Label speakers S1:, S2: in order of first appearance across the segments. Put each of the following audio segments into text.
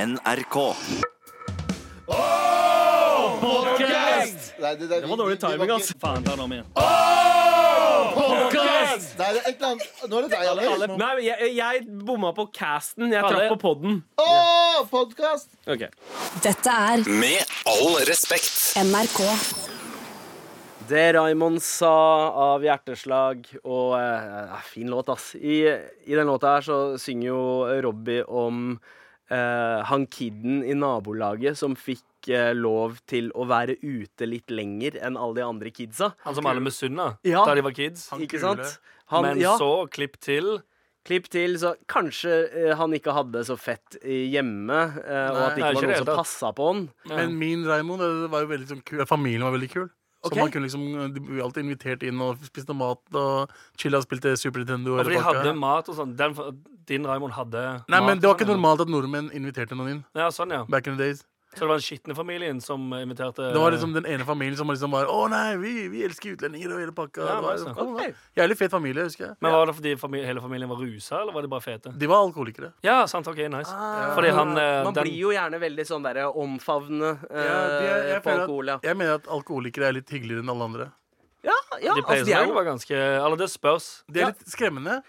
S1: NRK.
S2: Nei, det, det,
S3: Det var dårlig timing,
S4: altså.
S3: ass. Faen, ta den om igjen.
S2: Nei, det er et eller annet Nå er det deg, Alex.
S4: Nei, men jeg, jeg bomma på casten. Jeg traff
S3: det-
S4: på podden.
S2: Å, podkast!
S4: Ok.
S5: Dette er
S6: Med all respekt.
S5: NRK.
S4: Det Raymond sa av hjerteslag og eh, Fin låt, ass. I, I den låta her så synger jo Robbie om eh, han kiden i nabolaget som fikk eh, lov til å være ute litt lenger enn alle de andre kidsa.
S7: Han som alle misunna
S4: Ja.
S7: da de var kids.
S4: ikke sant? Han,
S7: Men
S4: ja,
S7: så, klipp til.
S4: Klipp til, så kanskje eh, han ikke hadde det så fett i hjemme, eh, og at det ikke
S7: Nei,
S4: var
S7: ikke det
S4: noen
S7: hele
S4: som
S7: tatt.
S4: passa på han.
S8: Men min Raimond det var jo veldig sånn kul. Familien var veldig kul. Så
S4: Ok.
S8: man kunne liksom, De ble alltid invitert inn og spiste noe mat og chilla og spilte Super Nintendo.
S7: Og for de
S8: eller pakka.
S7: hadde mat og sånn. Den, din Raymond hadde
S8: Nei,
S7: mat. sånn.
S8: men Det var ikke normalt at nordmenn inviterte noen inn.
S7: Ja, sånn, ja.
S8: Back in the days
S7: Så det var den skitne familien som inviterte
S8: Det var liksom den ene familien som liksom var Å nei, vi, vi elsker utlendinger og hele pakka.
S7: Ja,
S8: Det var-
S7: nice, ja.
S8: det var Jævlig fet familie, husker jeg.
S7: Men var det fordi famili hele familien var rusa, eller var de bare fete?
S8: De var alkoholikere.
S7: Ja, sant, ok, nice. Fordi han eh,
S4: Ah. Man
S7: den,
S4: blir jo gjerne veldig sånn derre omfavnende eh,
S8: Ja, de er- jeg
S4: på
S8: føler at-
S4: alkohol, ja.
S8: Jeg mener at alkoholikere er litt hyggeligere enn alle andre.
S4: Ja, ja,
S7: De
S4: altså,
S7: pleier
S4: de er
S7: seg
S4: jo
S7: var ganske Eller det spørs.
S8: De er litt skremmende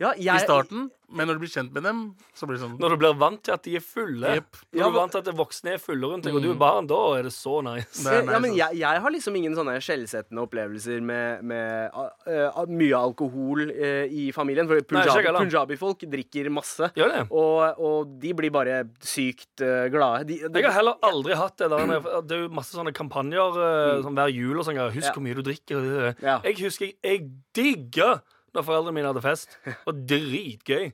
S4: ja,
S8: i
S4: jeg,
S8: starten, men når du blir kjent med dem, så blir det sånn
S7: Når du blir vant til at de er fulle.
S8: Jep.
S7: Når du
S4: Ja, Mm.
S7: er vant til at det voksne er fulle rundt deg, og du er barn, da er det så nice.
S8: Nei, nei,
S4: eh, ja, men
S8: sånn.
S4: jeg, jeg har liksom ingen sånne skjellsettende opplevelser med, med eh, eh, mye alkohol eh, i familien. For
S7: Nei, ikke
S4: punjabi,
S7: heller.
S4: punjabi-folk drikker masse,
S7: Gjør det.
S4: og, og de blir bare sykt eh, glade. De,
S7: Jeg har heller aldri hatt det der med- Det er jo masse sånne kampanjer eh, sånn hver jul og sånn. greier. Husk
S4: Ja.
S7: hvor mye du drikker.
S4: Ja.
S7: Jeg husker jeg, jeg digga da foreldrene mine hadde fest. Og dritgøy.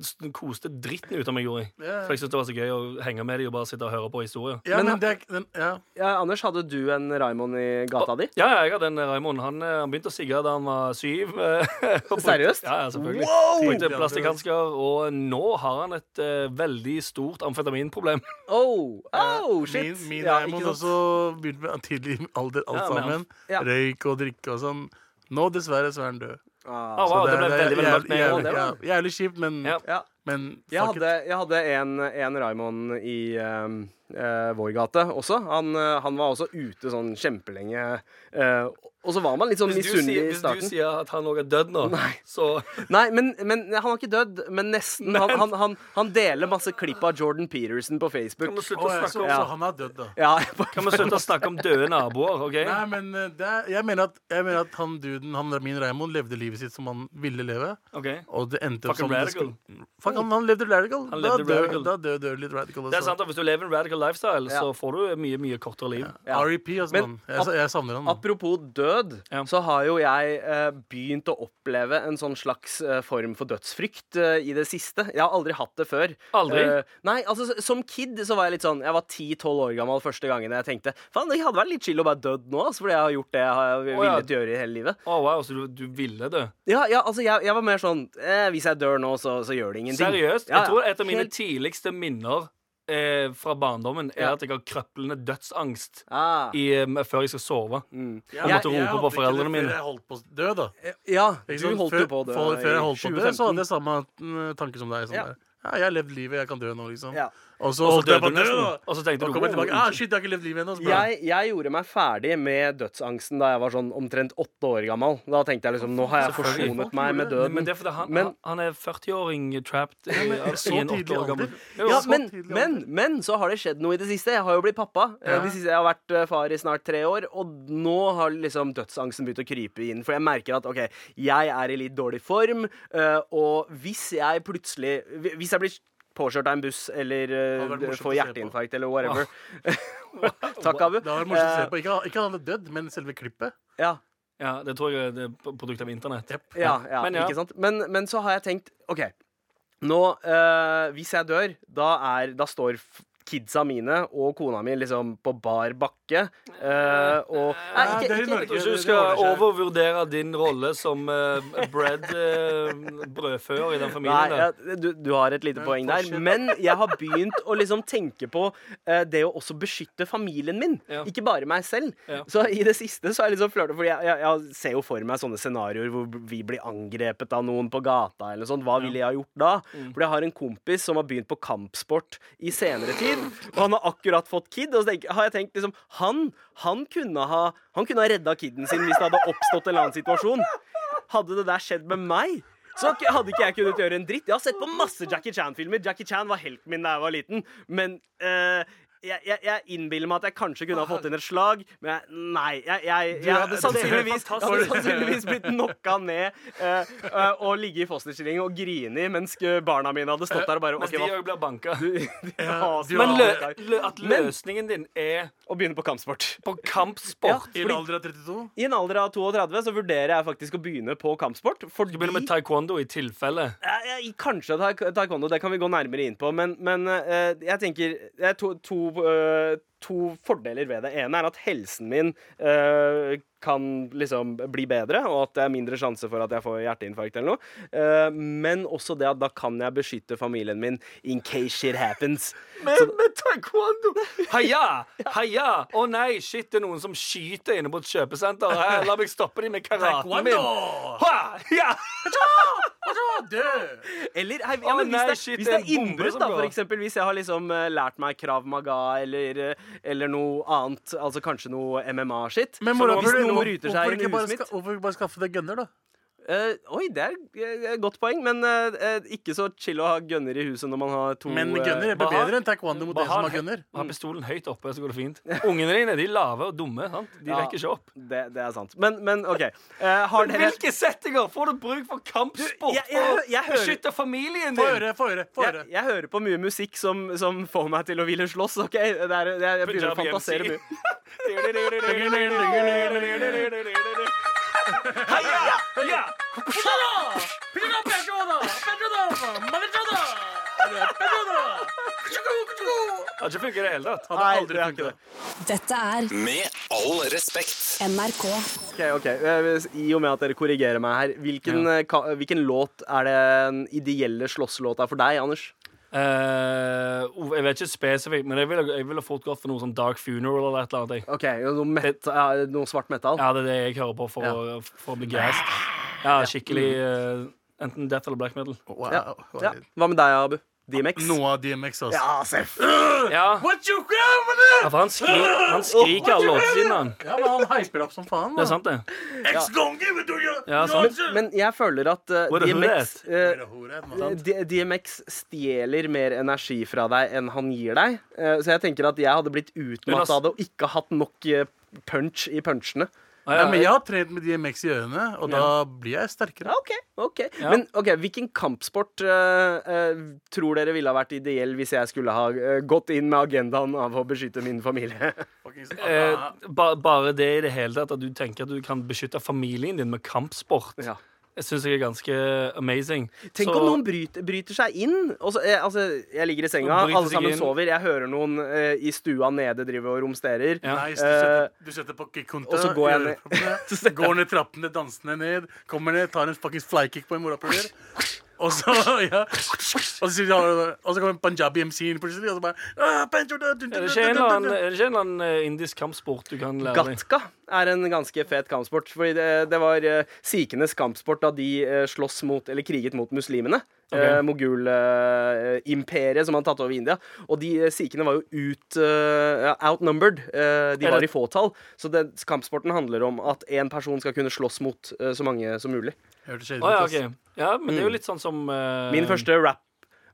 S7: S- Koste dritten ut av meg, gjorde jeg.
S8: Ja.
S7: For jeg syntes det var så gøy å henge med dem og bare sitte og høre på historier.
S8: Ja,
S4: Men-
S8: men, det er ikke- den, ja.
S4: ja, Anders, hadde du en Raymond i gata di?
S7: Ja, ja, jeg hadde en Raymond. Han, eh, han begynte å sigge da han var syv. eh, og brukte-
S4: Seriøst?
S7: Ja, ja, selvfølgelig. Brukte plastikkhansker. Og nå har han et eh, veldig stort amfetaminproblem.
S4: Oh, oh shit!
S8: Min, min
S4: Ja,
S8: Raymond
S4: ikke sant?
S8: også begynte med tidlig alder, alt
S7: Ja, men han-
S8: sammen.
S4: ja.
S8: Røyk og drikke og sånn. Nå, dessverre, så er han død.
S4: Ah.
S7: Ah, wow, det,
S8: er-
S7: ble veldig,
S8: er
S7: veldig mørkt.
S4: Å,
S7: ned.
S8: jævlig,
S4: det
S8: jævlig,
S4: var-
S8: ja, jævlig kjipt, men,
S7: Ja.
S4: Ja.
S8: men
S4: Jeg
S8: fuck it.
S4: hadde, jeg hadde en, en Raimond i eh, eh, vår gate også. Han, eh, han var også ute sånn kjempelenge. eh, og så var man litt sånn
S7: Hvis du, sier,
S4: misunnelig i
S7: hvis du
S4: starten.
S7: sier at han òg er dødd nå, så
S4: Nei, men, men han var ikke dødd. Men nesten. Han, han, han, han deler masse klipp av Jordan Peterson på
S7: kan vi
S4: Facebook.
S7: slutte
S8: Å,
S7: å
S8: jeg
S7: snakke
S8: så
S7: om
S8: også han er død, da.
S4: Ja,
S7: Kan vi slutte å snakke om døde naboer? ok?
S8: Nei, men eh, det er, jeg, mener at, jeg mener at han duden, han, min Raymond, levde livet sitt som han ville leve.
S7: Ok.
S8: Og det endte
S7: Fucking
S8: som det
S7: radical.
S8: skulle- Fuck, han, han levde radical.
S7: Han
S8: da
S7: levde
S8: dør
S7: radical.
S8: da dør- dør litt radical.
S7: Det er sant, og Hvis du lever en radical lifestyle,
S4: Ja.
S7: så får du et mye mye kortere liv.
S4: Ja.
S8: REP, altså,
S4: Men
S8: mann. Jeg, sa- jeg savner han.
S4: Apropos død,
S7: Ja.
S4: så har jo jeg eh, begynt å oppleve en sånn slags eh, form for dødsfrykt eh, i det siste. Jeg har aldri hatt det før.
S7: Aldri?
S4: Eh, nei, altså s- Som kid så var jeg litt sånn Jeg var 10-12 år gammel første gangen jeg tenkte faen, det hadde vært litt chill å være død nå, altså, fordi jeg har gjort det jeg har villet
S7: Å, ja.
S4: gjøre i hele livet.
S7: Å, wow, så du, du ville dø?
S4: Ja, ja altså jeg, jeg var mer sånn eh, Hvis jeg dør nå, så, så gjør det ingenting.
S7: Seriøst?
S4: Ja, ja.
S7: Jeg tror et av mine
S4: Helt-
S7: tidligste minner eh, fra barndommen er
S4: Ja.
S7: at jeg har krøplende dødsangst
S4: ah,
S7: i, eh, før jeg skal sove.
S4: mm.
S7: Jeg måtte rope på
S8: hadde ikke det
S7: foreldrene mine.
S8: Før jeg holdt på å dø, da.
S4: Ja,
S8: Ikke
S4: du
S8: sant?
S4: holdt
S8: før,
S4: jo på det.
S8: for- Før jeg holdt på å dø, så hadde
S4: det.
S8: jeg samme mm, tanke som deg. Sånn
S4: Ja.
S8: der. ja, jeg har levd livet, jeg kan dø nå, liksom.
S4: Ja.
S8: Og så
S7: Og så
S8: holdt jeg på
S7: døde
S8: å
S7: du
S8: dø,
S7: nesten.
S8: da.
S7: Og så tenkte
S8: Nå
S7: du
S8: kommer jeg
S7: wow,
S8: tilbake. Ah, shit, jeg har ikke levd livet ennå. så bra.
S4: Jeg, jeg gjorde meg ferdig med dødsangsten da jeg var sånn omtrent åtte år gammel. Da tenkte jeg liksom, nå har jeg
S7: Selvfølgelig.
S4: forsonet meg med
S7: Men,
S4: døden.
S7: det er fordi han,
S4: Men-
S7: han er 40-åring trapped i,
S8: så
S7: i en
S8: tidlig
S7: åtte år gammel.
S8: alder.
S7: Jo,
S4: Ja,
S8: Så
S4: men,
S8: tidlig
S4: men, men så har det skjedd noe i det siste. Jeg har jo blitt pappa. Eh, Det siste, jeg har vært eh, far i snart tre år, og nå har liksom dødsangsten begynt å krype inn. For jeg merker at ok, jeg er i litt dårlig form, eh, og hvis jeg plutselig hvi- Hvis jeg blir påkjørt av en buss eller eh,
S8: Det hadde vært morsomt
S4: får
S8: å se på.
S4: hjerteinfarkt eller whatever Takk, Abu.
S8: Det hadde vært morsomt å se
S4: Eh,
S8: på. Ikke, ikke at han hadde dødd, men selve klippet.
S4: Ja,
S7: Ja, det tror jeg er et produkt av internett.
S8: Jep.
S4: ja, ja,
S7: Men ja.
S4: ikke sant? Men, men så har jeg tenkt OK, nå eh, Hvis jeg dør, da er Da står f- kidsa mine og kona mi liksom på bar bakke. eh, og Nei,
S8: Nei, det er i
S7: Jeg tror ikke
S8: Norge. det-
S7: du
S8: det
S7: skal
S8: ordner seg.
S7: overvurdere din rolle som eh, bread eh, brødfører i den familien.
S4: Nei,
S7: der.
S4: ja, du, du har et lite
S8: Men
S4: poeng der.
S8: forskjell-
S4: Men jeg har begynt å liksom tenke på eh, det å også beskytte familien min.
S7: Ja.
S4: Ikke bare meg selv.
S7: Ja.
S4: Så i det siste så er jeg liksom flørte, fordi jeg, jeg, jeg ser jo for meg sånne scenarioer hvor vi blir angrepet av noen på gata eller noe sånt. Hva ville jeg ha gjort da?
S7: Mm.
S4: Fordi jeg har en kompis som har begynt på kampsport i senere tid, og han har akkurat fått kid, og så tenker, har jeg tenkt liksom Han, han kunne ha Han kunne ha redda kiden sin hvis det hadde oppstått en eller annen situasjon. Hadde det der skjedd med meg, så k- hadde ikke jeg kunnet gjøre en dritt. Jeg har sett på masse Jackie Chan-filmer. Jackie Chan var helten min da jeg var liten. Men eh, jeg, jeg, jeg innbiller meg at jeg kanskje kunne ha fått inn et slag, men jeg, nei. Jeg, jeg, jeg hadde sannsynligvis, hadde sannsynligvis blitt knocka ned eh, eh, og ligget i fosterstilling og grini mens eh, barna mine hadde stått der og bare
S7: Mens
S4: OK,
S7: de
S4: hva
S7: òg blir banka.
S4: f- de haser
S7: Men lø,
S4: meg i dag.
S7: lø, at
S4: Men-
S7: løsningen din er
S4: Å begynne på kampsport.
S7: på kampsport
S8: I en alder av 32?
S4: I en alder av 32 så vurderer jeg faktisk å begynne på kampsport. Fordi
S7: Du begynner med taekwondo i tilfelle.
S4: Eh, eh, Kanskje taek- taekwondo, det kan vi gå nærmere inn på. Men, men eh, jeg tenker Det er to, to, eh, to fordeler ved det. ene er at helsen min eh, kan liksom bli bedre, og at det er mindre sjanse for at jeg får hjerteinfarkt eller noe. Eh, men også det at da kan jeg beskytte familien min in case shit happens.
S7: Men med taekwondo! Heia! Heia! Å nei, shit, det er noen som skyter inne på et kjøpesenter. Hei, la meg stoppe dem med karaten min. Ha! Ja!
S4: Eller hei, ja,
S7: Å,
S4: men hvis,
S7: nei,
S4: det,
S7: shit,
S4: hvis
S7: det
S4: det er
S7: er en bombe
S4: innbrudd,
S7: som
S4: da,
S7: går.
S4: for eksempel. Hvis jeg har liksom eh, lært meg Krav Maga eller, eh, eller noe annet, altså kanskje noe MMA-skitt
S8: Men mora,
S4: Hvis
S8: burde-
S4: noen
S8: hvor-
S4: bryter
S8: hvorfor
S4: seg inn i
S8: ikke bare
S4: huset mitt
S8: ska- Hvorfor ikke bare skaffe deg gunner, da?
S4: Eh, oi, det er eh, et godt poeng, men eh, eh, ikke så chill å ha gunner i huset når man har to
S8: Men
S4: eh,
S8: gunner er
S7: hva har-
S8: bedre enn taekwondo mot
S7: Bare
S8: en som
S7: ha-
S8: har Mm. gunner.
S7: Ha pistolen høyt oppe, så går det fint. Ungene dine de er lave og dumme. sant? De
S4: Ja.
S7: rekker ikke opp.
S4: det, det er sant. Men, men OK. Eh, har dere
S7: Hvilke settinger får du bruk for kampsport?
S4: Du, jeg- jeg hø- jeg
S7: for å
S4: hører-
S7: Beskytte familien
S8: Få
S7: din!
S8: høre, få høre. få
S4: jeg,
S8: høre
S4: jeg hører på mye musikk som, som får meg til å ville slåss, OK? Det er, det er, jeg begynner å
S7: Punjabi MC.
S4: fantasere mye.
S7: Heia! Heia! Det har ikke funket i det hele tatt.
S4: Nei, det er ikke det.
S1: Dette er
S6: Med all respekt.
S1: NRK.
S4: Ok, ok. Eh, hvis- I og med at dere korrigerer meg her, hvilken, eh, ka, hvilken låt er det den ideelle slåsslåta for deg, Anders?
S7: Eh, oh, jeg vet ikke spesifikt, men jeg ville jeg ville fort gått for noe sånn Dark Funeral eller et eller annet. jeg.
S4: OK, noe, met, eh, noe svart metal?
S7: Ja, det er det jeg hører på for, å, for å bli gassed. Ja, skikkelig eh, Enten death eller black metal.
S8: Wow.
S4: Ja.
S8: hva
S4: Ja.
S8: er det?
S4: Hva med deg, Abu? DMX?
S8: Noe av DMX, altså.
S4: Ja, seff.
S7: Ja,
S8: What you grabbing
S7: ja for han, skri, han skriker alle låtene sine, han.
S8: Ja, men han hyper opp som
S7: Det
S8: faen. Da.
S7: er sant, det.
S8: X gonna give it to you.
S7: Ja,
S8: You're
S7: sant.
S8: just-
S4: Men jeg føler at eh,
S7: What a
S4: DMX eh,
S8: Dere horer, man.
S4: eh, D- DMX stjeler mer energi fra deg enn han gir deg. Eh, Så jeg tenker at jeg hadde blitt
S7: Jonas.
S4: utmatta av det og ikke hatt nok eh, punch i punchene.
S7: Ah,
S8: Ja,
S7: ja,
S8: men jeg har trent med DMX i ørene, og da blir jeg sterkere.
S4: OK. ok Men ok, hvilken kampsport eh, eh, tror dere ville ha vært ideell hvis jeg skulle ha eh, gått inn med agendaen av å beskytte min familie?
S7: Eh, ba, bare det i det hele tatt at du tenker at du kan beskytte familien din med kampsport,
S4: Ja.
S7: Jeg syns jeg er ganske amazing.
S4: Tenk
S7: Så-
S4: om noen bryter, bryter seg inn. Og så, jeg, altså, jeg ligger i senga,
S7: Bryter
S4: alle
S7: seg
S4: sammen
S7: inn.
S4: sover. Jeg hører noen eh, i stua nede drive og romsterer.
S7: Ja.
S8: Nice, du setter, du setter på kick-konta,
S4: og så går jeg
S8: gjør
S4: ned.
S8: proppene, går ned trappene, dansende ned, kommer ned, tar en fuckings flykick på en morapuler. Og så ja. Og så, sier de- og så kommer punjabi MC inn plutselig, og så bare ah, Pancho, da, dun,
S7: Er
S8: dun,
S7: det
S8: dun,
S7: ikke en eller
S8: dun, dun,
S7: annen,
S8: dun.
S7: er det ikke en eller annen eh, indisk kampsport du kan lære deg?
S4: Gatka er en ganske fet kampsport. Fordi det, det var eh, sikenes kampsport da de eh, slåss mot, eller kriget mot muslimene. Okay. Mogul-imperiet som hadde tatt over India. Og de eh, sikene var jo ut, eh, ja, outnumbered. Eh, de
S7: Er
S4: var i
S7: det-
S4: fåtall. Så den, kampsporten handler om at én person skal kunne slåss mot eh, så mange som mulig.
S8: Hørte skjedd
S7: Å, ja,
S8: ut, ass.
S7: ok. ja, men det er jo litt sånn som eh,
S4: Min første rap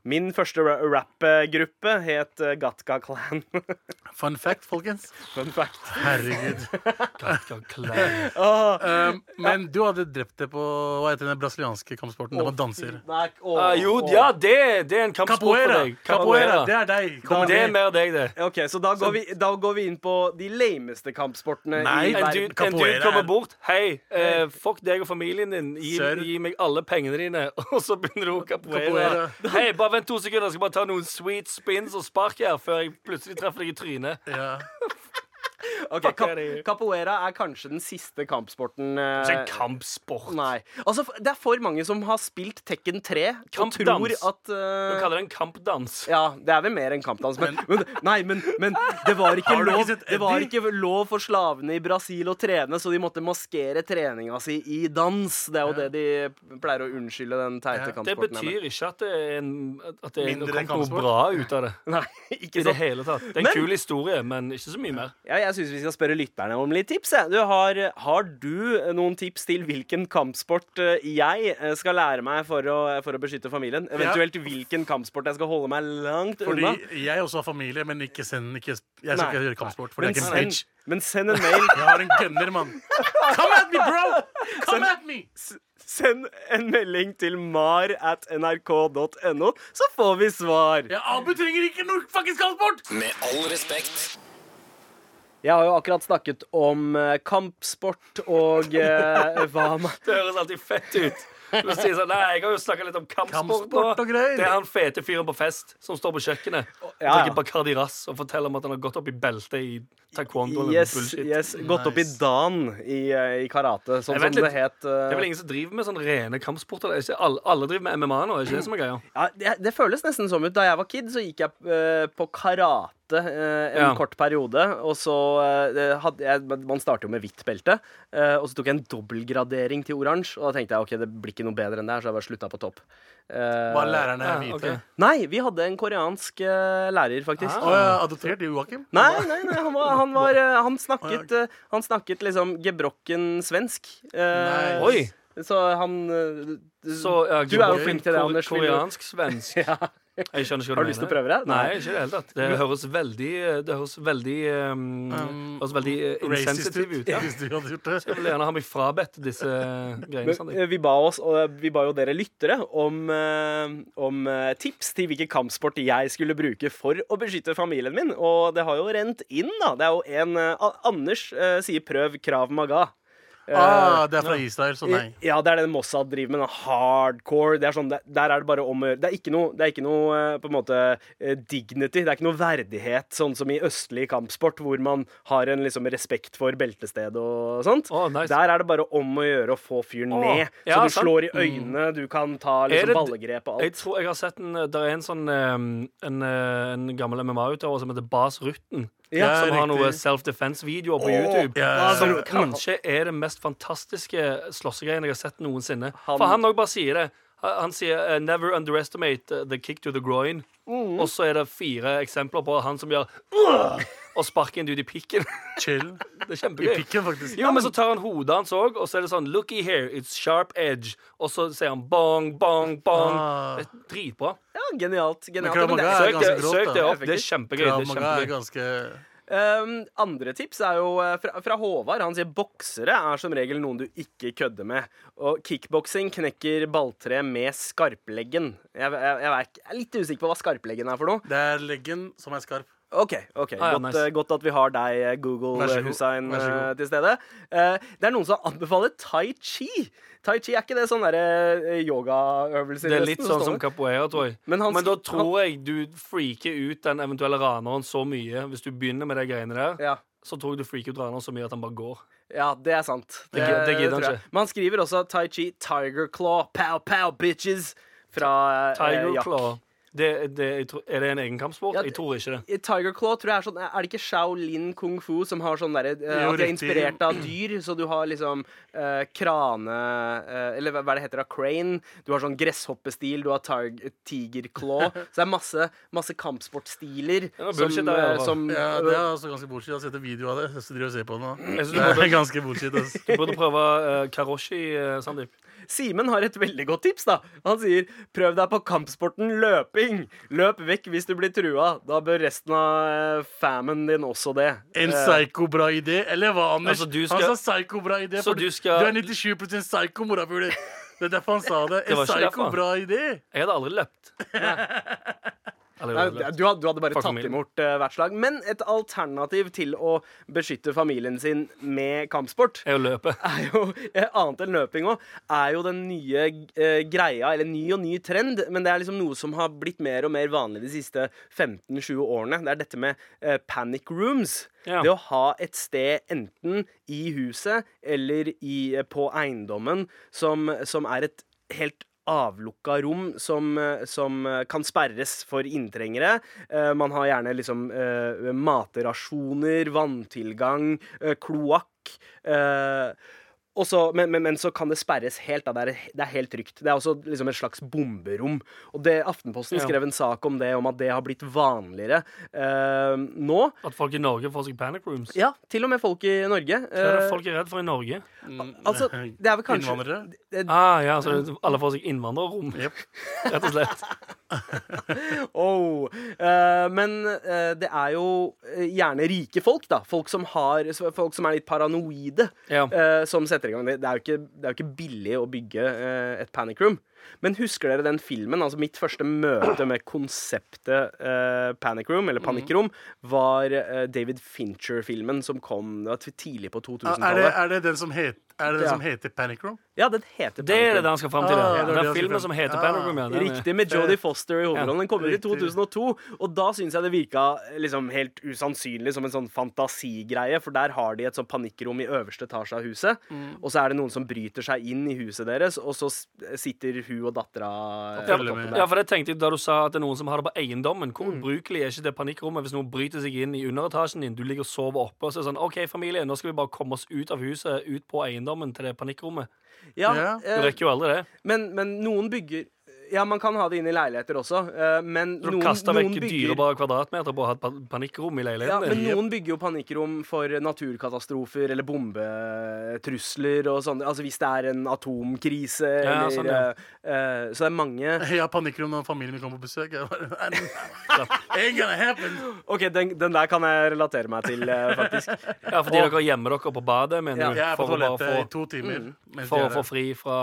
S4: Min første ra- rappgruppe het eh, Gatka Clan.
S8: Fun fact, folkens.
S4: Fun fact.
S8: Herregud.
S7: Gatka Clan.
S4: Oh.
S8: Um, men du hadde drept det på hva heter den brasilianske kampsporten? Det var danser.
S4: Nei, å,
S7: Ah, jo,
S4: å.
S7: ja, det, det er en kampsport
S8: Capoeira!
S7: for deg.
S8: Capoeira, Det er deg. Kom
S7: Det er
S8: ned.
S7: mer deg, det.
S4: Ok, så da går, vi, da går vi inn på de lameste kampsportene
S8: Nei,
S4: i
S7: En
S4: verden.
S7: dude, en dude
S8: Capoeira
S7: kommer
S8: er-
S7: bort. Hei, eh, fuck deg og familien din. Gi,
S8: Sir.
S7: gi meg alle pengene dine. Og så begynner hun capoeira.
S8: Capoeira.
S7: Hei, bare vent to sekunder, jeg skal bare ta noen sweet spins og spark her før jeg plutselig treffer deg i trynet.
S8: Ja.
S4: Ok,
S7: Fuck
S4: cap
S7: er det.
S4: Capoeira er kanskje den siste kampsporten eh,
S7: Det er en kampsport.
S4: Nei. Altså, f- det er for mange som har spilt Tekken 3 og
S7: Kampdans.
S4: tror at
S7: Du
S4: eh,
S7: kaller det en kampdans.
S4: ja, det er vel mer enn kampdans, men, men Nei, men, men det, var ikke
S8: Har du ikke
S4: lov,
S8: sett
S4: det var
S8: Eddie?
S4: ikke lov for slavene i Brasil å trene, så de måtte maskere treninga si i dans. Det er jo det de pleier å unnskylde den
S8: Ja.
S4: teite
S8: Det
S7: Det
S4: kampsporten her med.
S7: betyr ikke at det er en, at det er
S8: Mindre
S7: det kom noe
S8: kampsport.
S7: bra ut av det.
S4: Nei,
S7: I
S4: ikke
S7: det
S4: sant?
S7: hele tatt. Det er en
S4: Men-
S7: kul historie, men ikke så mye mer.
S4: Ja, jeg syns vi skal spørre lytterne om litt tips. Jeg. Du, har, har du noen tips til hvilken kampsport eh, jeg eh, skal lære meg for å, for å beskytte familien? Eventuelt hvilken kampsport jeg skal holde meg langt
S8: Fordi
S4: unna?
S8: jeg også har familie, men ikke send ikke, Jeg skal
S4: Nei.
S8: ikke gjøre kampsport, for
S4: Men
S8: det er ikke en
S4: send,
S8: bitch.
S4: men send en mail
S8: Jeg har en gunner, mann. Come at me, bro! Come at me!
S4: Send en melding til mar at nrk.no, så får vi svar.
S8: Ja, Abu trenger ikke noe fuckings kampsport!
S6: Med all respekt.
S4: Jeg har jo akkurat snakket om eh, kampsport og eh, hva man
S7: Det høres alltid fett ut. Du sier sånn, nei, Jeg har jo snakka litt om kampsport.
S8: Kampsport og greier.
S7: Det er han fete fyren på fest som står på kjøkkenet og
S4: Ja, ja.
S7: drikker Bacardi Ras og forteller om at han har gått opp i beltet i taekwondo. eller
S4: Yes,
S7: bullshit.
S4: yes, gått opp i dan i, eh, i karate, sånn
S7: Jeg
S4: som
S7: vet
S4: det
S7: litt.
S4: het. eh,
S7: Det er vel ingen som driver med sånn rene kampsporter? Det er ikke alle, alle driver med MMA nå? er ikke det som er greia?
S4: Ja, det, det føles nesten som ut. Da jeg var kid, så gikk jeg eh, på karate eh, en
S7: Ja.
S4: kort periode. Og så eh, hadde jeg men Man starter jo med hvitt belte. eh, og så tok jeg en dobbeltgradering til oransje. Og da tenkte jeg ok, det blir ikke noe bedre enn det her, så jeg bare slutta på topp. Eh,
S8: Hva lærerne er
S7: Ja, ok.
S8: hvite?
S4: Nei, vi hadde en koreansk eh, lærer, faktisk.
S8: Å, ja, adoptert i Joakim?
S4: Nei, nei, nei, han, var, han, var, eh, han, snakket, eh, han snakket liksom gebrokken svensk. Eh,
S8: Nice.
S7: Oi!
S4: Så han eh,
S7: Så, ja,
S4: Du er jo flink til det,
S7: kor-
S4: Anders. Vil du-
S7: Koreansk-svensk.
S4: Ja.
S7: Jeg skjønner ikke hva
S4: Har du lyst til å
S7: mener.
S4: prøve det?
S7: Nei, ikke i det hele tatt. Det høres veldig Det høres veldig, um,
S8: Um,
S7: høres veldig uh,
S8: Racist ut,
S7: insensitiv ut. Ja.
S8: hvis du hadde gjort det.
S7: Jeg vil gjerne ha meg frabedt disse greiene.
S4: Men,
S7: Sandeep.
S4: eh, vi, ba oss, og vi ba jo dere lyttere om, eh, om eh, tips til hvilken kampsport jeg skulle bruke for å beskytte familien min. Og det har jo rent inn, da. Det er jo en eh, A- Anders eh, sier 'prøv krav maga'. Eh,
S8: Ah, det er fra Israel, så nei.
S4: Ja, det er det Mossad driver med. da. Hardcore. Det er sånn, det- der er det bare om å gjøre. Det er ikke noe, det er ikke noe eh, på en måte eh, dignity. Det er ikke noe verdighet, sånn som i østlig kampsport, hvor man har en liksom respekt for beltested og sånt.
S7: Å, nice.
S4: Der er det bare om å gjøre å få fyren
S7: Å,
S4: ned. Så
S7: ja,
S4: du
S7: sant. Mm.
S4: slår i øynene, du kan ta
S7: Er
S4: liksom
S7: det-
S4: ballegrep og
S7: Jeg
S4: alt.
S7: tror jeg har sett en Det er en sånn um, en, uh, en gammel MMA-utøver som heter Bas Rutten.
S8: Ja,
S7: som har
S8: riktig.
S7: noe self-defense-videoer på YouTube.
S8: ja, ja.
S7: Som kanskje er det mest fantastiske slåssegreien jeg har sett noensinne.
S4: Han-
S7: For han òg bare sier det. Han han sier eh, 'never underestimate eh, the kick to the groin'. Og så er det fire eksempler på han som gjør «Åh!» og sparker en dude i pikken.
S8: Chill.
S7: Det er
S8: I
S7: kjempegøy.
S8: pikken, faktisk.
S7: Jo, men så tar han hodet hans òg, og så er det sånn Looky here, it's sharp edge. Og så sier han bong, bong, bong.
S8: Ah.
S7: Det er dritbra.
S4: Ja, genialt. genialt.
S8: Krav
S4: Men det-
S8: Maga er
S7: Søk det,
S8: ganske grovt,
S7: søk
S8: da.
S7: det opp.
S4: Effektivt.
S7: Det er kjempegøy.
S8: Krav
S7: Det er
S8: Maga er
S7: kjempegøy.
S8: ganske
S4: Um, andre tips er jo eh, fra, fra Håvard. Han sier boksere er som regel noen du ikke kødder med. Og kickboksing knekker balltre med skarpleggen. Jeg, jeg, jeg, er, ikke- jeg er litt usikker på hva skarpleggen er for noe.
S8: Det er leggen som er skarp.
S4: Ok, ok,
S7: Ah, ja,
S4: godt,
S7: nice.
S4: eh, godt at vi har deg, eh, Google
S8: Vær så
S4: eh,
S8: god,
S4: Hussein,
S8: vær så god.
S4: eh, til stede. Eh, det er noen som anbefaler tai chi. Tai chi er ikke det sånne der, eh, yogaøvelser?
S7: Det er
S4: nesten,
S7: litt
S4: så
S7: sånn
S4: står
S7: som
S4: det?
S7: capoeira, tror jeg.
S4: Men
S7: Men,
S4: han-
S7: da tror jeg du freaker ut den eventuelle raneren så mye. Hvis du begynner med de greiene der,
S4: ja.
S7: så tror jeg du freaker ut raneren så mye at han bare går.
S4: Ja, det er sant.
S7: Det gi- det gidder han
S4: tror jeg.
S7: ikke.
S4: Men han skriver også Tai Chi Tiger Claw, pow pow bitches, fra eh,
S7: Tiger
S4: Jack.
S7: Claw. Det, det, jeg tror, er det en egen kampsport?
S4: Ja,
S7: Jeg tror ikke det.
S4: I Tiger Claw tror jeg er sånn Er det ikke Shaolin kung fu som har sånn derre eh,
S8: Jo,
S4: At de er
S8: riktig.
S4: inspirert av dyr, så du har liksom eh, krane eh, Eller hva hva er det heter da? Crane. Du har sånn gresshoppestil, du har tar- Tiger Claw. Så det er masse, masse kampsportstiler
S7: var
S4: som, eh,
S7: bullshit, det der, i hvert fall.
S4: som
S8: Ja, det er altså ganske bullshit. Jeg har sett en video av det. Jeg driver og ser på det nå.
S7: Jeg synes du
S8: Det
S7: burde,
S8: er ganske bullshit. ass.
S7: du burde prøve eh, karoshi, eh, Sandeep.
S4: Simen har et veldig godt tips, da. Han sier prøv deg på kampsporten løping. Løp vekk hvis du blir trua. Da bør resten av eh, famen din også det.
S8: En psyko-bra idé, eller hva, Anders?
S7: Altså, du skal-
S8: Han sa psyko-bra idé,
S7: Så
S8: for du,
S7: du skal-
S8: er 97 psyko, morapuler. Det er derfor han sa det.
S7: Det
S8: En
S7: var ikke derfor.
S8: psyko-bra idé.
S7: Jeg hadde aldri løpt. Eller,
S4: Nei,
S7: eller.
S4: du, had- du hadde bare
S7: For
S4: tatt
S7: familien.
S4: imot eh, hvert slag. Men et alternativ til å beskytte familien sin med kampsport
S7: Er å løpe.
S4: er jo, eh, annet enn løping òg, er jo den nye eh, greia, eller ny og ny trend, men det er liksom noe som har blitt mer og mer vanlig de siste 15-20 årene. Det er dette med eh, panic rooms.
S7: Ja.
S4: Det å ha et sted enten i huset eller i, eh, på eiendommen som, som er et helt avlukka rom som, eh, som eh, kan sperres for inntrengere. Eh, Man har gjerne liksom eh, matrasjoner, vanntilgang, eh, kloakk. eh, og så- men, men, men så kan det sperres helt. Da. Det, er, det er helt trygt. Det er også liksom et slags bomberom. Og det, Aftenposten
S7: Ja.
S4: skrev en sak om det, om at det har blitt vanligere eh, nå.
S7: At folk i Norge får seg panic rooms.
S4: Ja, til og med folk i Norge.
S7: Hva er det
S4: eh,
S7: folk er redd for i Norge?
S4: altså, det er vel kanskje
S8: Innvandrere?
S4: det-
S7: Ah, ja, så det- Alle får seg innvandrerrom, rett og slett.
S4: Oh. Eh, men eh, det er jo eh, gjerne rike folk, da. Folk som, har, s- folk som er litt paranoide,
S7: Ja.
S4: eh, som setter i gang. Det, det, er jo ikke, det er jo ikke billig å bygge eh, et panic room. Men husker dere den filmen? Altså Mitt første møte med konseptet eh, panic room, eller panikkrom, var eh, David Fincher-filmen som kom det var tidlig på
S8: Er det,
S4: 2000-tallet.
S8: er det den som, het, er det den
S4: Ja.
S8: som heter Panic Room?
S4: Ja, den heter
S7: Det er
S4: Panic
S7: det
S4: Room.
S7: han skal fram til.
S8: Ah,
S7: ja.
S8: det var
S7: Den
S8: det jeg skulle
S7: filmen som
S8: frem-
S7: heter
S8: Ah,
S7: Panic Room. Ja, den er-
S4: Riktig, med Jodie Foster i hovedrollen. Den kom ut i
S8: riktig.
S4: 2002, og da syns jeg det virka liksom helt usannsynlig som en sånn fantasigreie, for der har de et sånn panikkrom i øverste etasje av huset, og så er det noen som bryter seg inn i huset deres, og så s- eh, sitter hun og dattera eh, på
S7: Ja,
S8: Følger
S4: toppen
S8: med.
S4: der.
S7: Ja, for det tenkte jeg da du sa at det er noen som har det på eiendommen. Hvor
S4: Mm.
S7: ubrukelig er ikke det panikkrommet hvis noen bryter seg inn i underetasjen din? Du ligger og sover oppe, og så er det sånn OK, familie, nå skal vi bare komme oss ut av huset, ut på eiendommen til det panikkrommet.
S4: Ja,
S8: Ja.
S7: Du
S4: eh,
S7: rekker jo aldri det.
S4: men, men noen bygger Ja, man kan ha det inn i leiligheter også, eh, men
S7: Du
S4: noen,
S7: kaster
S4: noen
S7: vekk
S4: bygger
S7: dyrebare kvadratmeter på å ha et pa- panikkrom i
S4: ja,
S7: leiligheten
S4: men
S7: din.
S4: noen bygger jo panikkrom for naturkatastrofer eller bombetrusler og sånn. Altså hvis det er en atomkrise
S7: Ja,
S4: eller
S7: sånn, ja.
S4: eh, eh, Så det er mange
S8: Jeg har panikkrom når familien min kommer på besøk. Jeg bare, Ain't gonna happen!
S4: OK, den, den der kan jeg relatere meg til, eh, faktisk.
S7: Ja, fordi dere gjemmer dere på badet,
S4: Ja.
S7: mener du?
S8: Jeg er på
S7: For å bare
S8: toalettet i
S7: få
S8: to timer. mens de
S7: for å
S8: er
S7: få
S8: der.
S7: fri fra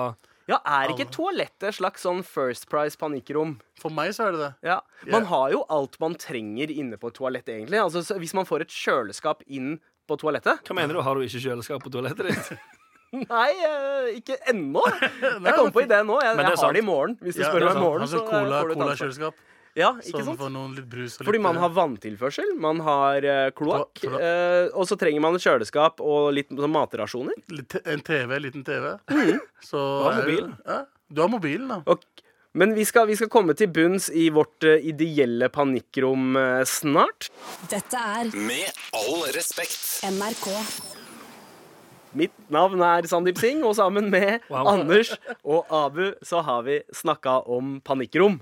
S4: Ja, er ikke toalettet et slags sånn First Price panikkrom?
S8: For meg så er det det.
S4: Ja. Man
S8: Ja.
S4: har jo alt man trenger inne på et toalett, egentlig. Altså, så hvis man får et kjøleskap inn på toalettet
S7: Hva mener du? Har du ikke kjøleskap på toalettet ditt?
S4: Nei, eh, ikke ennå. Jeg kom på ideen nå. Jeg,
S7: Men det er
S4: jeg har
S7: sant.
S4: det i morgen. Hvis du
S8: Ja,
S4: spør
S8: det er
S4: meg i
S8: sant.
S4: morgen,
S8: Altså,
S4: så eh,
S8: cola,
S4: får du et
S8: cola
S4: ansvar.
S8: kjøleskap.
S4: Ja, ikke
S8: Sånn
S4: sant?
S8: for noen litt brus og litt eh,
S4: Fordi man har vanntilførsel, man har eh, kloakk,
S8: Klo- kloakk.
S4: eh, og så trenger man et kjøleskap og litt sånn matrasjoner.
S8: litt, En TV, liten TV.
S4: Mm.
S8: Så
S7: har
S8: er jo-
S7: mobilen.
S8: Ja, du har mobilen, da.
S4: Og, men vi skal, vi skal komme til bunns i vårt eh, ideelle panikkrom eh, snart.
S1: Dette er
S6: Med all respekt.
S1: NRK.
S4: Mitt navn er Sandeep Singh, og sammen med
S7: Wow.
S4: Anders og Abu så har vi snakka om panikkrom.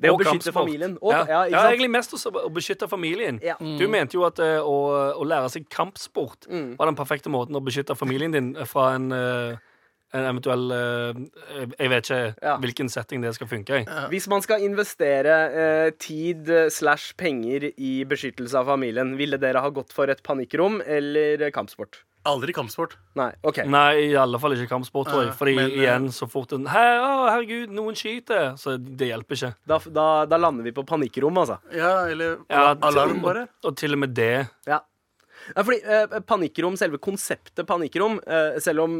S4: Det å
S7: Og
S4: beskytte
S7: kampsport.
S4: familien. Og,
S7: ja.
S4: ja, ikke
S7: ja,
S4: sant?
S7: egentlig mest også å beskytte familien.
S4: Ja.
S7: Du mente jo at eh, å, å lære seg kampsport
S4: Mm.
S7: var den perfekte måten å beskytte familien din fra en, eh, en eventuell eh, Jeg vet ikke
S4: Ja.
S7: hvilken setting det skal funke i.
S4: Hvis man skal investere eh, tid eh, slash penger i beskyttelse av familien, ville dere ha gått for et panikkrom eller eh, kampsport?
S8: Aldri kampsport.
S4: Nei, OK.
S7: Nei, i alle fall ikke kampsport, tror jeg.
S8: Ja,
S7: Fordi
S8: men, eh,
S7: igjen, så fort en Hei, å, herregud, noen skyter! Så det hjelper ikke.
S4: Da, da, da lander vi på panikkrom, altså.
S8: Ja, eller
S7: Ja,
S8: alarm, bare.
S7: Og, og til og med det.
S4: Ja. Ja, fordi eh, panikkrom, Selve konseptet panikkrom, eh, selv om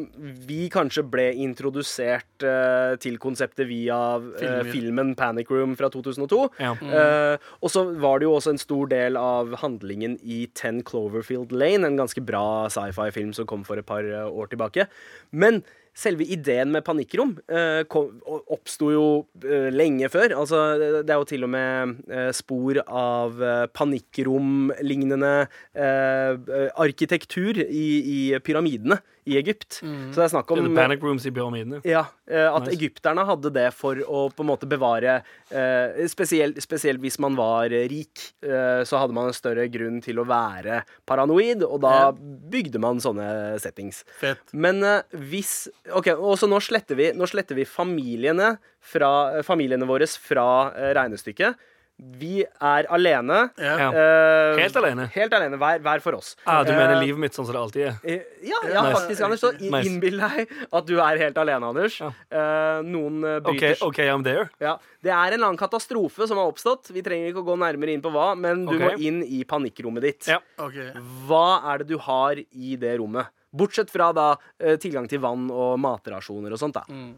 S4: vi kanskje ble introdusert eh, til konseptet via eh,
S8: Filmer.
S4: filmen Panic Room fra 2002,
S7: Ja.
S4: eh, og så var det jo også en stor del av handlingen i Ten Cloverfield Lane, en ganske bra sci-fi-film som kom for et par eh, år tilbake. Men selve ideen med panikkrom eh, kom- oppsto jo eh, lenge før. Altså, det er jo til og med eh, spor av eh, panikkromlignende eh, eh, arkitektur i, i pyramidene i Egypt. Så det er snakk
S7: Det
S4: om
S7: er Mm. panic rooms i pyramidene.
S4: ja, eh, at
S7: Nice.
S4: egypterne hadde det for å på en måte bevare eh, spesielt, spesielt hvis man var eh, rik, eh, så hadde man en større grunn til å være paranoid, og da bygde man sånne settings.
S8: Fett.
S4: Men eh, hvis OK, og så nå sletter vi, nå sletter vi familiene, fra, eh, familiene våre fra eh, regnestykket. Vi er alene.
S8: Ja.
S4: Eh,
S7: Helt alene.
S4: Helt alene, hver, hver for oss.
S7: Ah, du mener
S4: Eh,
S7: livet mitt sånn som det alltid er?
S4: Eh, Ja, ja
S7: Nice.
S4: faktisk, Anders. Så i-
S7: Nice.
S4: innbill deg at du er helt alene, Anders.
S7: Ja.
S4: Eh, noen eh,
S7: OK,
S4: bryter
S7: ok, I'm there.
S4: Ja. Det er en eller annen katastrofe som har oppstått. Vi trenger ikke å gå nærmere inn på hva, men du
S7: Ok.
S4: må inn i panikkrommet ditt.
S7: Ja.
S8: Ok.
S4: Hva er det du har i det rommet? Bortsett fra da eh, tilgang til vann og matrasjoner og sånt. da
S7: Mm.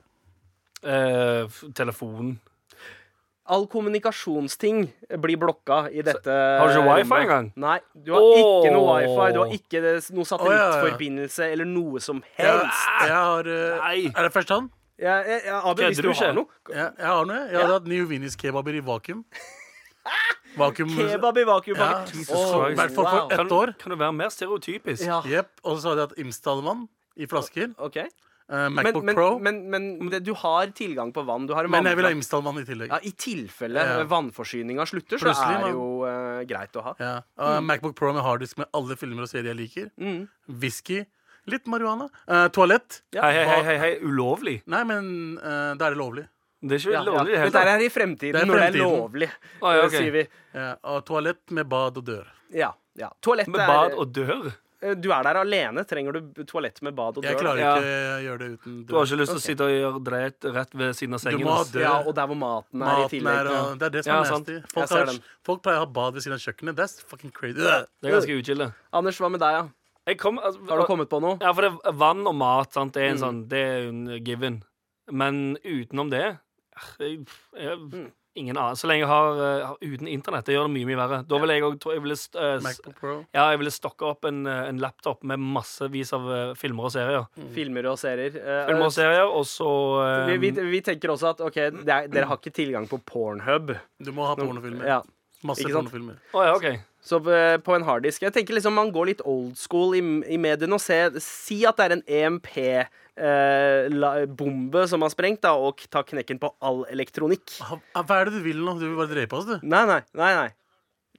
S7: Eh, f- telefon
S4: All kommunikasjonsting blir blokka i dette.
S7: har du ikke
S4: rommet.
S7: wifi engang?
S4: Nei, du har ikke noe
S7: Åh.
S4: wifi. Du har ikke det- noe satellittforbindelse eller noe som helst.
S8: Jeg har eh,
S7: Nei.
S8: Er det først han?
S4: Ja, ja, ja, Abel, hvis du
S7: Kødder du
S4: har
S7: ikke?
S4: noe
S8: Ja, jeg har noe. Jeg Jeg hadde hatt New Venice kebaber i vakuum. Vakuum
S4: Kebab i
S8: Ja,
S4: vakuumpakke.
S8: Jesus
S7: Åh,
S8: Christ. I hvert fall
S2: wow.
S8: for
S7: Kan,
S8: ett år.
S7: kan du være mer stereotypisk?
S4: Ja.
S8: Jep, Og så hadde jeg hatt Imsdalmann i flasker.
S4: OK.
S8: eh,
S4: Men,
S8: Macbook
S4: men,
S8: Pro. Men,
S4: men, men det, du har tilgang på vann. Du har en
S8: jeg vil ha
S4: vannflaske.
S8: Imsdalmann i tillegg.
S4: ja, I tilfelle
S8: Ja.
S4: eh, vannforsyninga slutter, så
S8: Plutselig,
S4: er det
S8: man-
S4: jo eh, greit å ha.
S8: Ja. og
S4: Mm.
S8: Macbook Pro med harddisk med alle filmer og serier jeg liker. Whisky. Litt marihuana. Eh, toalett.
S7: Hei, hei, hei, hei, hei, ulovlig.
S8: Nei, men eh, da er det lovlig.
S7: Det er ikke
S4: Ja, ja.
S7: lovlig i det hele
S4: Dette
S7: tatt.
S4: er i fremtiden,
S8: Det er
S4: når det er
S8: fremtiden.
S4: lovlig,
S7: Ah, ja,
S4: eh,
S7: ok.
S4: sier vi.
S8: Ja, og toalett med bad og dør.
S4: Ja, ja. Toalettet
S7: Med bad
S4: er
S7: og dør.
S4: eh, Du er der alene. Trenger du b- toalett med bad og
S8: Jeg
S4: dør?
S8: klarer
S7: Ja.
S8: ikke å gjøre det uten
S7: Du har ikke lyst til
S4: Ok.
S7: å sitte og gjøre dreit rett ved siden av sengen.
S8: må ha
S7: ass.
S8: dør.
S4: Ja, og der hvor maten er i
S8: Maten er,
S4: tillegg.
S8: og, det er det som
S7: Ja,
S8: er
S7: sant.
S8: nasty.
S4: Jeg
S8: Folk,
S4: ser
S8: har,
S4: den.
S8: folk pleier å ha bad ved siden av kjøkkenet. That's fucking crazy. Øh.
S7: Det er ganske utskille.
S4: Anders, hva med deg? Ja?
S7: Jeg kom, altså,
S4: Har du kommet på noe?
S7: Ja, for det, vann og mat, sant, det er en sånn Det er jo en given. Men utenom det eh, jeg, jeg,
S4: Mm.
S7: Ingen annen. Så lenge jeg har eh, har- uten internett, det gjør det mye, mye verre. Da vil jeg òg jeg ville, st- eh, s-
S8: MacBook Pro.
S7: ja, jeg ville stokke opp en, eh, en laptop med massevis av eh, filmer og serier.
S4: Filmer og serier? Eh,
S7: Filmer og serier, og så eh,
S4: Vi, vi, vi tenker også at ok, det er, dere har ikke tilgang på Pornhub.
S8: Du må ha pornofilmer.
S4: Ja.
S8: Masse
S4: Ikke sant?
S8: pornofilmer.
S7: Å ja, OK.
S4: Så eh, på en harddisk Jeg tenker liksom man går litt old school i, i mediene og ser, si at det er en E EMP-bombe eh, som har sprengt, da, og ta knekken på all elektronikk.
S8: Ha- ha- Ah, Hva er det du vil nå? Du vil bare drepe oss, du?
S4: Nei, nei, nei. nei.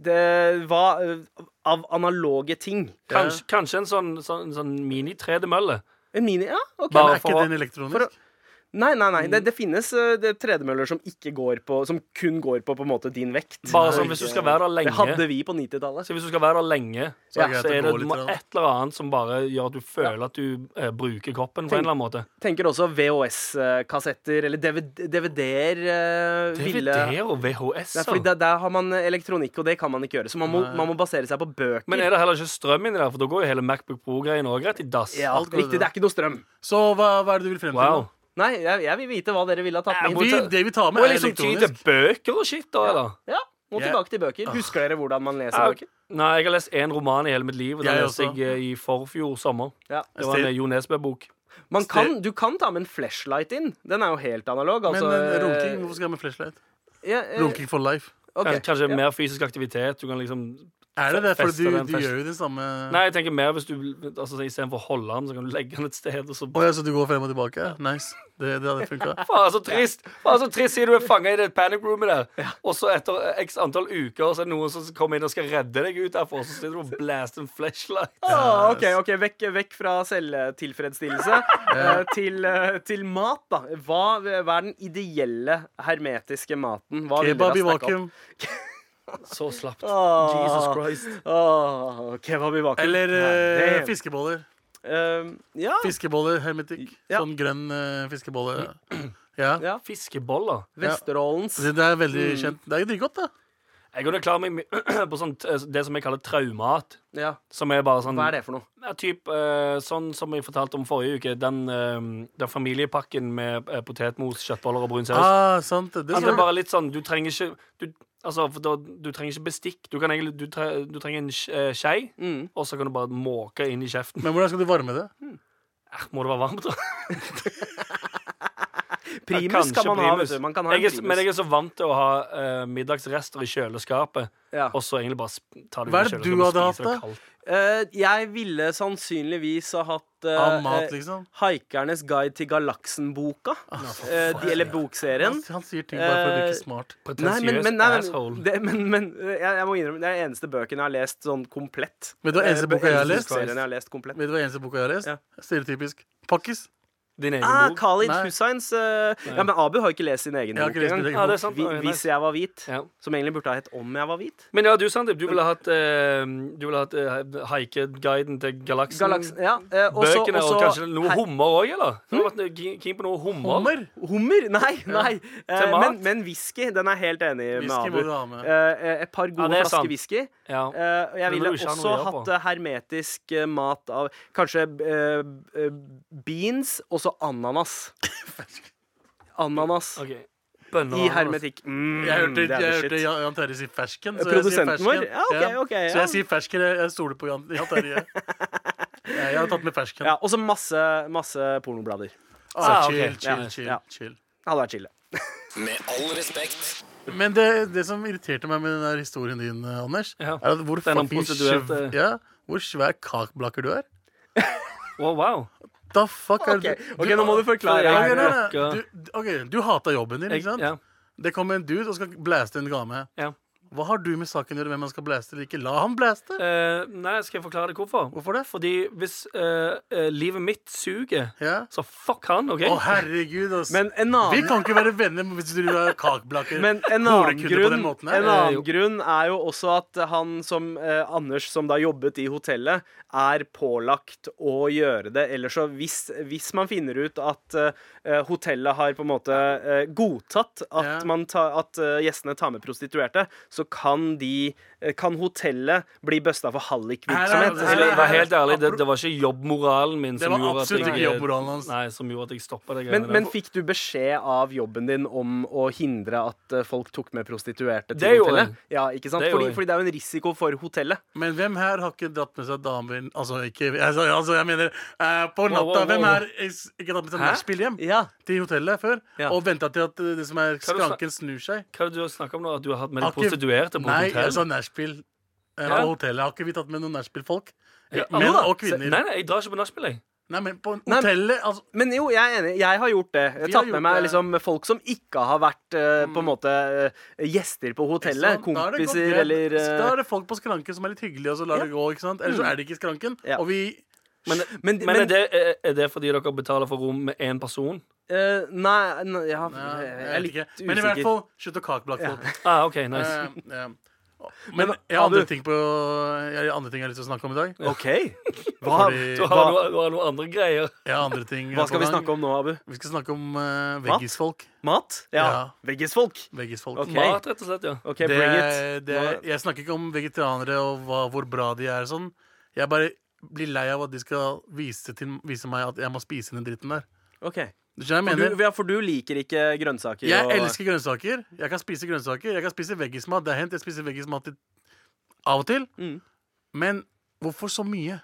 S4: Det var eh, av analoge ting.
S7: Kanskje, kanskje en sånn, sånn, sånn mini-tredemølle.
S4: En mini Ja, OK.
S7: Bare
S8: Men er
S7: for
S8: ikke
S7: å-
S8: den
S4: for å-
S8: elektronisk?
S4: Nei, nei, nei.
S7: Mm.
S4: Det, det finnes eh, det er tredemøller som ikke går på Som kun går på på en måte din vekt.
S7: Bare sånn hvis du skal være der
S4: Det
S7: lenge.
S4: hadde vi på 90-tallet.
S7: Så hvis du skal være der lenge, så
S8: er
S7: er
S8: det
S7: det,
S8: greit å gå
S7: du
S8: litt
S7: må
S8: grann.
S7: et eller annet som bare gjør at du føler at du eh, bruker kroppen på en eller annen måte.
S4: Tenker også VHS-kassetter eller DVD- DVD-er. eh, ville-
S8: altså.
S7: DVD-er og VHS.
S4: Nei, fordi der, der har man elektronikk, og det kan man ikke gjøre. Så man må, man må basere seg på bøker.
S7: Men er det heller ikke strøm inni der? For da går jo hele Macbook Pro-greien òg rett i dass.
S4: ja,
S8: alt går
S4: riktig,
S8: det.
S4: det er ikke noe strøm.
S8: Så hva, hva er det du vil frem til?
S7: Wow.
S8: nå?
S4: Nei, jeg, jeg vil vite hva dere ville ha tatt med.
S7: Jeg må
S8: Vi,
S7: ta-
S8: det vi tar
S7: Må
S8: med, er
S7: jeg liksom ty til
S8: elektronisk.
S7: bøker og shit, da, eller?
S4: Ja, må
S8: Jeg-
S4: tilbake til bøker. Husker dere hvordan man leser
S7: Ja,
S4: bøker?
S7: Ah, Nei, jeg har lest én roman i hele mitt liv. og Den
S8: Jeg
S7: leste
S8: også.
S7: jeg eh, i forfjor sommer.
S4: Ja.
S7: Det var en
S8: Still.
S7: eh, Jo Nesbø-bok.
S4: Man kan, du kan ta med en flashlight inn. Den er jo helt analog.
S8: Men
S4: Altså,
S8: eh,
S4: eh,
S8: runking, hvorfor skal jeg med flashlight?
S4: ja, eh,
S8: Runking for life.
S4: ok.
S7: Kanskje, kanskje
S4: Ja.
S7: mer fysisk aktivitet. Du kan liksom
S8: Er det det? For
S7: Fest
S8: du,
S7: av den
S8: du
S7: fest.
S8: gjør jo den samme
S7: Nei, jeg tenker mer hvis du altså, Istedenfor å holde den, så kan du legge den et sted, og så
S8: Å ja, så du går frem og tilbake? Nice. Det, det hadde funka.
S7: Faen, så trist! Faen, så trist Sier du er fanga i det panic roomet der, og så etter x antall uker Så er det noen som kommer inn og skal redde deg ut derfra, og så sitter du og blaster en flashlight.
S4: Ah, ok, ok, vekk, vekk fra selvtilfredsstillelse eh, til, eh, til mat, da. Hva, hva er den ideelle hermetiske maten? Hva vil dere ha
S8: Kebab i
S4: stacka opp?
S8: vakuum.
S7: Så slapt.
S4: Ah.
S7: Jesus Christ.
S4: Åh, kebab i vakuum.
S8: Eller eh,
S4: Nei, det-
S8: fiskeboller.
S4: Ehm, ja.
S8: Fiskeboller, hermetikk.
S4: Ja.
S8: Sånn grønn eh, fiskebolle. Ja.
S4: ja. Mm.
S7: Fiskeboller.
S4: Vesterålens.
S8: Det, det er veldig kjent. Det er jo dritgodt, da.
S7: Jeg kunne klare meg my- på sånt, eh, det som jeg kaller traumat.
S4: Ja.
S7: Som er bare sånn
S4: Hva er det for noe?
S7: Ja, typ, eh, sånn som jeg fortalte om forrige uke. Den, eh, den familiepakken med eh, potetmos, kjøttboller og brun saus.
S8: Ah, sant. Det,
S4: Altså,
S7: At det
S8: det,
S7: er bare litt sånn Du trenger ikke du, altså, for da, du trenger ikke bestikk. Du, kan egentlig, du, tre, du trenger en sk- eh, skei,
S4: Mm.
S7: og så kan du bare måke inn i kjeften.
S8: Men hvordan skal du varme det?
S7: Eh, Må det være varmt, da?
S4: Primus kan man ha. Vet du. Man kan ha en
S7: jeg er,
S4: primus.
S7: men jeg er så vant til å ha eh, middagsrester i kjøleskapet,
S4: Ja.
S7: og så egentlig bare sp- ta det ut av
S8: Hva er det du
S7: kjøleskapet og
S8: hadde
S7: spise det
S8: hatt, da?
S7: kaldt.
S4: Eh, jeg ville sannsynligvis ha hatt eh,
S8: Av mat,
S4: eh,
S8: liksom?
S4: Haikernes guide til galaksen-boka. Eh, de, eller bokserien.
S8: Han, han sier ting bare for å virke
S4: Eh,
S8: smart.
S4: Nei, men,
S7: Pretensiøs
S4: men, nei, men,
S7: asshole.
S4: det, men, men eh, jeg, jeg må innrømme, det er den eneste bøken jeg har lest sånn komplett.
S8: Vet du hva eneste
S4: Eh,
S8: boka jeg har
S4: eneste
S8: lest?
S4: serien jeg har lest komplett.
S8: Vet du hva eneste boka jeg har lest?
S4: Ja.
S8: Stereotypisk. Pakkis.
S7: din egen
S4: Ah,
S7: bok.
S4: Khalid
S8: Nei.
S4: Husseins eh, Ja, men Abu har jo ikke lest sin egen
S8: Jeg har
S4: bok
S8: ikke lest min
S4: engang.
S8: egen
S7: Ja, det er sant.
S4: Vi,
S7: Ja,
S4: hvis
S7: nice.
S4: jeg var hvit.
S7: Ja. Mm.
S4: Som egentlig burde ha hett Om jeg var hvit.
S7: Men ja, du, Sandeep, du ville hatt, eh, du ville hatt eh, haikeguiden til galaksen.
S4: Galaksen, ja. eh, også-
S7: Bøkene
S4: også-
S7: og kanskje noe
S4: Hei-
S7: hummer òg, eller? Har du vært keen på noe hummer?
S8: Hm? Hummer?
S4: Hummer? Nei, nei. Eh,
S7: Til mat?
S4: men, men whisky, den er jeg helt enig med
S8: Whisky
S4: Abu.
S8: må du ha med.
S4: Eh, et par gode
S7: det er sant.
S4: flasker whisky.
S7: Ja.
S4: Eh, og jeg
S7: Men
S4: ville
S7: må du ikke ha noe
S4: også
S7: å gjøre
S4: hatt
S7: på.
S4: eh, hermetisk eh, mat av kanskje eh, eh, beans, og så ananas. Ananas
S7: OK. Bønner
S4: i hermetikk. Mm,
S8: Jeg hørte,
S4: det er
S8: jeg
S4: the
S8: hørte
S4: shit.
S8: Jan Jan Terje si fersken. så jeg sier
S4: Produsenten vår?
S8: fersken.
S4: Ja, ok, ok,
S8: Så
S4: ja.
S8: jeg sier fersken. Jeg, jeg stoler på Jan, Jan Terje. Ja, Jeg har tatt med fersken.
S4: Ja, og så masse, masse pornoblader.
S8: Ah,
S7: Ah, ok.
S8: chill, chill,
S4: Ja,
S8: chill,
S4: ja.
S8: chill.
S4: Det hadde vært chill. det.
S6: Med all respekt.
S8: Men det, det som irriterte meg med den der historien din, eh, Anders,
S7: Ja.
S8: er at hvor,
S7: er noen
S8: fucking
S7: prostituerte-
S8: sv- ja, hvor svær kakeblakker du er.
S7: Å, wow.
S8: Da fuck er
S4: Ok,
S8: du,
S4: ok,
S8: du
S4: nå må du forklare.
S8: Ok, nei,
S4: her.
S8: nei, du, ok, du hata jobben din,
S7: Jeg,
S8: ikke sant?
S7: ja,
S8: Det kommer en dude og skal blaste en dame.
S7: ja.
S8: Hva har du med saken å gjøre hvem han skal blaste eller ikke? La ham blaste!
S7: Eh, nei, skal jeg forklare det hvorfor?
S8: Hvorfor det?
S7: Fordi hvis eh, eh, livet mitt suger,
S8: Ja.
S7: så fuck han, OK?
S8: Å, herregud, ass.
S4: Men en
S8: Vi
S4: annen
S8: kan ikke være venner hvis du har kakeblakker.
S4: Men en annen,
S8: Horekunder på
S4: grunn,
S8: den måten her.
S4: en
S7: Eh,
S4: annen
S7: jo.
S4: grunn er jo også at han som eh, Anders, som da jobbet i hotellet, er pålagt å gjøre det. Ellers så hvis, hvis man finner ut at eh, hotellet har på en måte eh, godtatt at,
S8: Ja.
S4: man ta, at eh, gjestene tar med prostituerte, så kan de eh, Kan hotellet bli busta for hallikvirksomhet?
S8: Nei, nei, nei,
S7: Eller,
S8: nei,
S7: vær helt ærlig, det, det var ikke jobbmoralen min
S8: Det
S7: som
S8: var
S7: gjorde at
S8: absolutt
S7: jeg,
S8: ikke jobbmoralen hans.
S7: Nei, som gjorde at jeg stoppa det.
S4: Men,
S7: greiene
S4: men
S7: der.
S4: fikk du beskjed av jobben din om å hindre at eh, folk tok med prostituerte
S7: Det
S4: til
S7: gjorde
S4: hotellet?
S7: jeg.
S4: Ja, ikke sant?
S7: Det
S4: Fordi,
S7: gjorde jeg.
S4: fordi det er jo en risiko for hotellet.
S8: Men hvem her har ikke dratt med seg damer Altså, ikke, altså, altså jeg mener eh, På natta,
S7: Wow, wow, wow.
S8: hvem her is- ikke har dratt med seg
S7: Hæ?
S8: nachspiel hjem?
S4: Ja,
S8: Til hotellet før?
S4: Ja.
S8: Og venta til at eh, det som er
S7: Hva er det du
S8: skranken, snur seg?
S7: Hva er det du snakker om nå? At du har hatt med de
S8: Har ikke-
S7: prostituerte på
S8: Nei, altså,
S7: hotell?
S8: jeg sa nachspiel. eh,
S7: Ja.
S8: På hotellet har ikke vi tatt med noen nachspiel-folk. Eh,
S7: Ja,
S8: Menn
S7: alle.
S8: og kvinner.
S7: Nei, nei, jeg drar ikke på nachspiel, jeg.
S8: Nei, men på
S4: Nei, men-
S8: hotellet altså,
S4: Men jo, jeg er enig. Jeg har gjort det. Jeg
S8: Vi
S4: har
S8: har
S4: tatt
S8: gjort
S4: med meg
S8: det.
S4: liksom, folk som ikke har vært eh, på en måte eh, gjester på hotellet.
S8: Ikke sant? Da er det godt
S4: Kompiser
S8: greit.
S4: eller eh,
S8: Da er det folk på skranken som er litt hyggelige, og så lar det gå. ikke sant? Ellers
S7: Mm.
S8: så er det ikke i skranken.
S4: Ja.
S8: Og vi
S4: Men, men,
S7: Men, er, det, er- er det fordi dere betaler for rom med én person?
S4: eh, Nei, nei ja,
S8: Nei,
S4: jeg,
S8: jeg
S4: er
S8: vet
S4: litt
S8: ikke.
S4: usikker.
S8: Men i hvert fall, slutt å kakeblake folk.
S7: Ah, OK, nice.
S8: Eh, ja. Men
S4: Men,
S8: jeg har andre
S4: Abu-
S8: ting, på, jeg har andre ting jeg har lyst til å snakke om i dag.
S4: OK. Hva,
S8: Fordi-
S7: Du har, noe, du har noen andre greier.
S8: Jeg har andre ting
S4: hva skal vi snakke om nå, Abu?
S8: Vi skal snakke om eh, veggisfolk.
S4: Mat?
S8: Ja.
S4: Ja. Veggisfolk.
S8: Veggisfolk.
S4: Ok.
S7: Mat, rett og slett, ja.
S4: OK,
S8: Det,
S4: bring it.
S8: det, jeg snakker ikke om vegetanere og hva, hvor bra de er. og sånn Jeg bare blir lei av at de skal vise, til, vise meg at jeg må spise den dritten der.
S4: OK.
S8: Du skjønner hva
S4: For
S8: jeg
S4: du,
S8: mener?
S4: ja, for du liker ikke grønnsaker? og-
S8: Jeg elsker grønnsaker. Jeg kan spise grønnsaker. Jeg kan spise veggismat. Det er hendt jeg spiser veggismat i- av og til.
S4: Mm.
S8: Men hvorfor så mye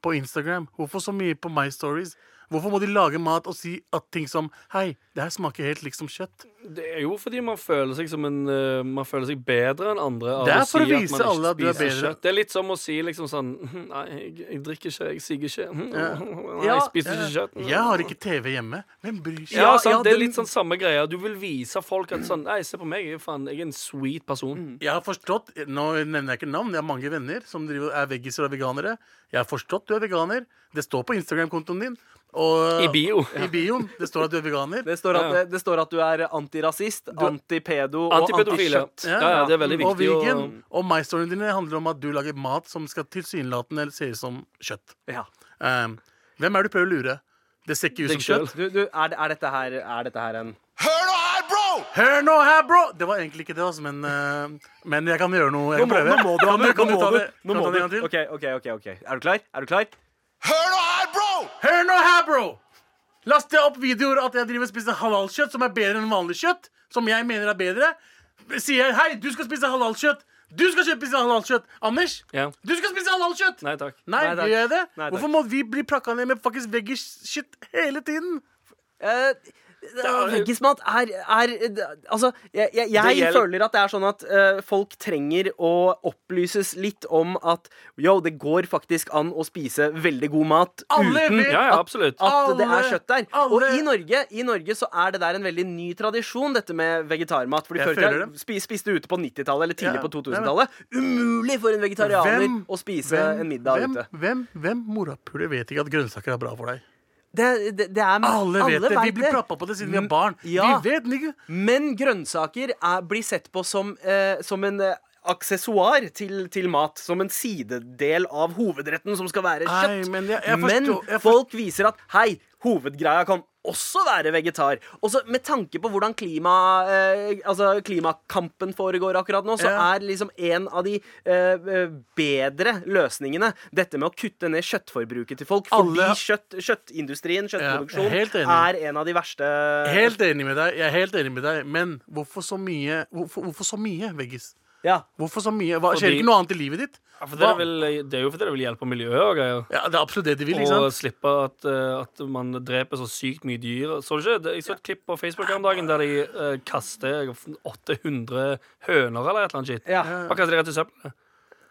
S8: på Instagram? Hvorfor så mye på My Stories? Hvorfor må de lage mat og si at ting som Hei, det her smaker helt liksom kjøtt.
S7: Det er jo fordi man føler seg som en eh, Man føler seg bedre enn andre. Av
S8: Det er
S7: å si
S8: for å
S7: at man
S8: vise
S7: ikke
S8: alle at du er
S7: spiser
S8: bedre.
S7: kjøtt. Det er litt som å si liksom sånn Nei, jeg, jeg drikker ikke, jeg sigger ikke. Hm, Nei,
S4: Ja.
S7: jeg spiser ikke kjøtt. Hm.
S8: Jeg har ikke TV hjemme. Hvem bryr seg?
S7: ja, sant, det er
S4: den-
S7: litt sånn samme greia. Du vil vise folk at sånn Nei, se på meg, jeg er, faen, jeg er en sweet person.
S8: Jeg har forstått, Nå nevner jeg ikke navn, jeg har mange venner som driver, er veggiser og veganere. Jeg har forstått du er veganer. Det står på Instagram-kontoen din. Og,
S7: I bio.
S8: I bioen. Det står at du er veganer.
S4: Det står, at,
S7: Ja.
S4: det står at du er antirasist, antipedo og
S7: Antipedofile.
S4: antikjøtt.
S7: Ja, ja, det er veldig
S8: Og
S7: viktig.
S8: vegan.
S7: å-
S8: Og my storyen din handler om at du lager mat som skal tilsynelatende se ut som kjøtt.
S4: Ja.
S8: Um, hvem er det du prøver å lure? Det ser ikke ut
S7: Deg
S8: som kjøtt.
S4: Du, du, er, det- er, dette her, er dette her en
S6: Hør nå her, bro!
S8: Hør nå her, bro! Det var egentlig ikke det, altså, men, uh, men jeg kan gjøre noe. Jeg kan prøve. Kan du- kan du ta det-
S4: Nå må
S8: kan du ta det en gang
S4: du.
S8: til?
S4: OK, OK. ok, ok Er du klar? Er du klar?
S6: Hør nå her, bro!
S8: Hør nå her, bro! Laster jeg opp videoer at jeg driver og spiser halalkjøtt som er bedre enn vanlig kjøtt, som jeg mener er bedre, sier jeg hei, du skal spise halalkjøtt. Du skal kjøpe- spise halalkjøtt. Anders,
S7: Ja.
S8: du skal spise halalkjøtt.
S7: Nei takk.
S8: Nei,
S4: Nei, takk.
S8: gjør jeg det?
S4: Nei, takk.
S8: Hvorfor må vi bli prakka ned med faktisk veggies-shit hele tiden?
S4: Eh, Veggismat er, er Altså, jeg, jeg, jeg
S7: Det gjel-
S4: føler at det er sånn at eh, folk trenger å opplyses litt om at yo, det går faktisk an å spise veldig god mat
S8: Alle
S4: uten
S8: vet-
S7: Ja, ja, absolutt.
S4: at det
S8: Alle-
S4: er kjøtt der. Og
S8: alle-
S4: i Norge, i Norge så er det der en veldig ny tradisjon, dette med vegetarmat. Fordi
S8: Jeg
S4: før i
S8: føler
S4: tida spi- spiste du ute på 90-tallet eller tidlig
S8: Ja,
S4: på 2000-tallet. Umulig for en vegetarianer å spise en middag
S8: hvem,
S4: ute.
S8: Hvem, hvem morapuler vet ikke at grønnsaker er bra for deg?
S4: Det, det, det er
S8: Alle vet det. Vi
S4: vet
S8: blir prappa på det siden vi er barn.
S4: Ja.
S8: Vi vet, nigga.
S4: Men grønnsaker er, blir sett på som, eh, som en eh, aksessoar til, til mat. Som en sidedel av hovedretten som skal være
S8: Nei,
S4: kjøtt.
S8: men jeg- jeg
S4: Men
S8: forstår- jeg forstår-
S4: folk viser at hei, hovedgreia kan også være vegetar. Også med tanke på hvordan klima, eh, altså klimakampen foregår akkurat nå, så
S8: Ja.
S4: er liksom en av de eh, bedre løsningene dette med å kutte ned kjøttforbruket til folk.
S8: Alle-
S4: Fordi kjøtt, kjøttindustrien,
S8: Ja,
S4: kjøttproduksjon,
S8: helt enig.
S4: er en av de verste
S8: Helt enig med deg. Jeg er helt enig med deg. Men hvorfor så mye, hvorfor, hvorfor så mye veggis?
S4: Ja.
S8: Hvorfor så mye? Hva, skjer
S7: Fordi-
S8: det ikke noe annet i livet ditt?
S7: Ja, for det, er vel, det er jo fordi det vil hjelpe miljøet og greier.
S8: Ja, det er absolutt det de vil. ikke
S7: Og
S8: sant?
S7: slippe at, eh, at man dreper så sykt mye dyr. Så du ikke? Det- Jeg så et klipp på Facebook her om dagen der de eh, kaster 800 høner eller et eller annet shit.
S4: Ja.
S7: Bare kaster de rett i søppelet.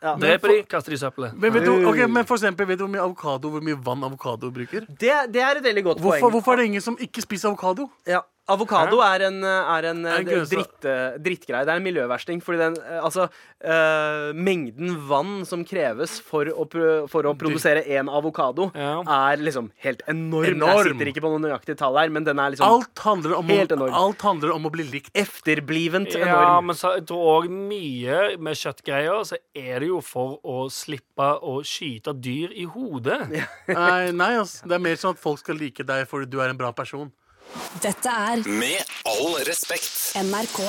S4: Ja.
S7: Dreper de, kaster de i søppelet.
S8: Men, vet du, ok, men for eksempel, vet du hvor mye avokado Hvor mye vann avokado bruker?
S4: Det, det er et veldig godt
S8: Hvorfor,
S4: poeng.
S8: hvorfor er det ingen som ikke spiser avokado?
S4: Ja. Avokado er en, er en eh,
S8: en grønnsak.
S4: dritt, drittgreie. Det er en miljøversting. Fordi den, eh, altså, eh, mengden vann som kreves for å, pro- for å produsere én avokado,
S7: Ja.
S4: er liksom helt enorm.
S8: Enorm.
S4: Jeg sitter ikke på noe nøyaktig tall her, men den er liksom
S8: Alt handler om,
S4: Helt
S8: å,
S4: enormt.
S8: alt handler om å bli likt.
S4: efterblivent
S7: Ja,
S4: enorm.
S7: men så, jeg tror òg mye med kjøttgreier så er det jo for å slippe å skyte dyr i hodet.
S8: Nei, nei ass. Det er mer sånn at folk skal like deg fordi du er en bra person.
S1: Dette er
S6: Med all respekt.
S1: NRK.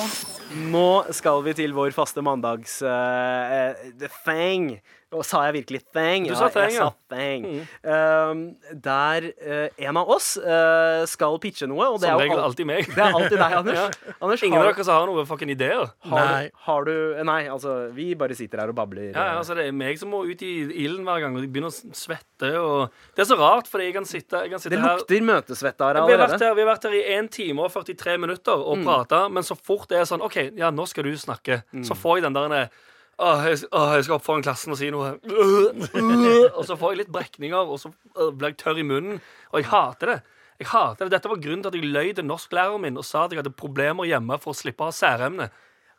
S4: Nå skal vi til vår faste mandags eh, eh, The Thing. Og sa jeg virkelig thing?
S7: Du sa thing,
S4: jeg
S7: ja. Mm.
S4: sa thing. Um, der eh, en av oss eh, skal pitche noe, og det er
S7: Som
S4: jo
S7: regel
S4: al-
S7: alltid meg.
S4: Det er alltid deg, Anders. Anders
S7: Ingen av
S4: har,
S7: dere som har noen fucking ideer.
S4: har,
S8: Nei.
S4: har du Nei, altså, vi bare sitter her og babler.
S7: Ja, ja, altså Det er meg som må ut i ilden hver gang og de begynner å svette. Og det er så rart, fordi jeg kan sitte, jeg kan sitte
S4: det
S7: her
S4: lukter møtesvette her
S7: vi har, vært
S4: allerede.
S7: her, vi har vært her i 1 time og 43 minutter
S4: Mm.
S7: og prata, men så fort det er sånn OK, ja, nå skal du snakke,
S4: Mm.
S7: så får jeg den der Åh, jeg, åh, jeg skal opp foran klassen og si noe. og så får jeg litt brekninger, og så øh, blir jeg tørr i munnen. Og jeg hater det. Jeg hater det. Dette var grunnen til at jeg løy til norsklæreren min og sa at jeg hadde problemer hjemme for å slippe å ha særemne.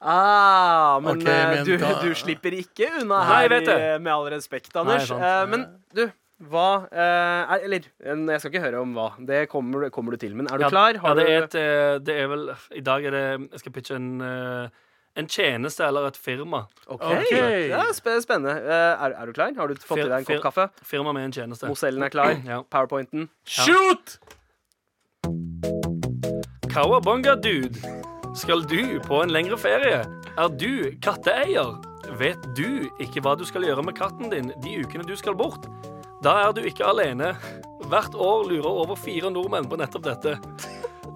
S4: Ah, men,
S8: Ok,
S4: eh,
S8: men
S4: du,
S8: da-
S4: du slipper ikke unna
S7: Nei,
S4: her,
S7: jeg vet det.
S4: i- med all respekt, Anders.
S7: sant.
S4: Eh, men du, hva eh, er, Eller, eh, jeg skal ikke høre om hva. Det kommer, du- kommer du til. Men er du
S7: Ja,
S4: klar? Har
S7: ja, det,
S4: du-
S7: er et, eh, det er vel I dag er det Jeg skal pitche en, eh, en tjeneste eller et firma.
S4: Ok,
S8: Ok.
S4: Det er sp- spennende. Eh, er, er du klar? Har du fått i deg en kopp kaffe?
S7: Firma med en tjeneste.
S4: Mosellen er klar.
S7: Ja.
S4: Powerpointen.
S8: Shoot!
S7: Kawabonga dude, skal du på en lengre ferie? Er du katteeier? Vet du ikke hva du skal gjøre med katten din de ukene du skal bort? Da er du ikke alene. Hvert år lurer over fire nordmenn på nettopp dette.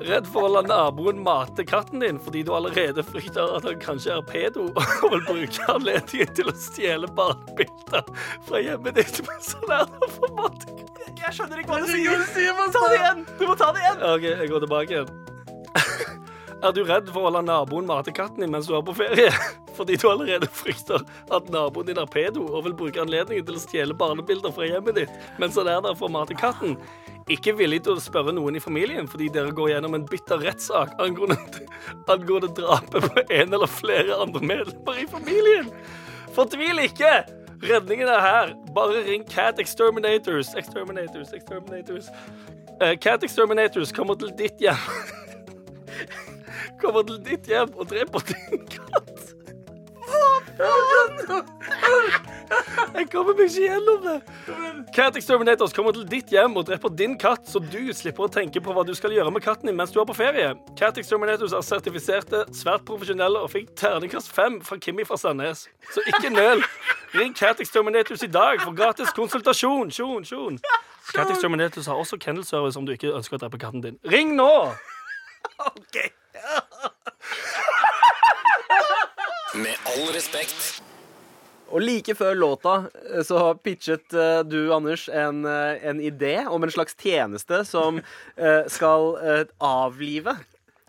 S7: Redd for å la naboen mate katten din fordi du allerede frykter at han kanskje er pedo og vil bruke anledningen til å stjele barnebilder fra hjemmet ditt mens han er der for mating.
S4: Jeg skjønner ikke hva du
S8: Ta
S4: Du må ta det igjen!
S7: OK, jeg går tilbake igjen. Er du redd for å la naboen mate katten din mens du er på ferie? Fordi du allerede frykter at naboen din er pedo og vil bruke anledningen til å stjele barnebilder fra hjemmet ditt mens han er der for å mate katten? Ikke villig til å spørre noen i familien fordi dere går gjennom en bitter rettssak angående, angående drapet på en eller flere andre medlemmer i familien? Fortvil ikke! Redningen er her. Bare ring Cat Exterminators. Exterminators, Exterminators. Eh, Cat Exterminators kommer til ditt hjem Kommer til ditt hjem og dreper din katt. Jeg kommer meg ikke gjennom det. Cat Exterminators kommer til ditt hjem og dreper din katt, så du slipper å tenke på hva du skal gjøre med katten din mens du er på ferie. Cat Exterminators er sertifiserte, svært profesjonelle og fikk terningkast fem fra Kimmi fra Sandnes. Så ikke nøl. Ring Cat Exterminators i dag for gratis konsultasjon. Sjon, sjon. Cat Exterminators har også kennelservice om du ikke ønsker å drepe katten din. Ring nå!
S6: Med all respekt.
S4: Og like før låta eh, så pitchet eh, du, Anders, en, eh, en idé om en slags tjeneste som eh, skal eh, avlive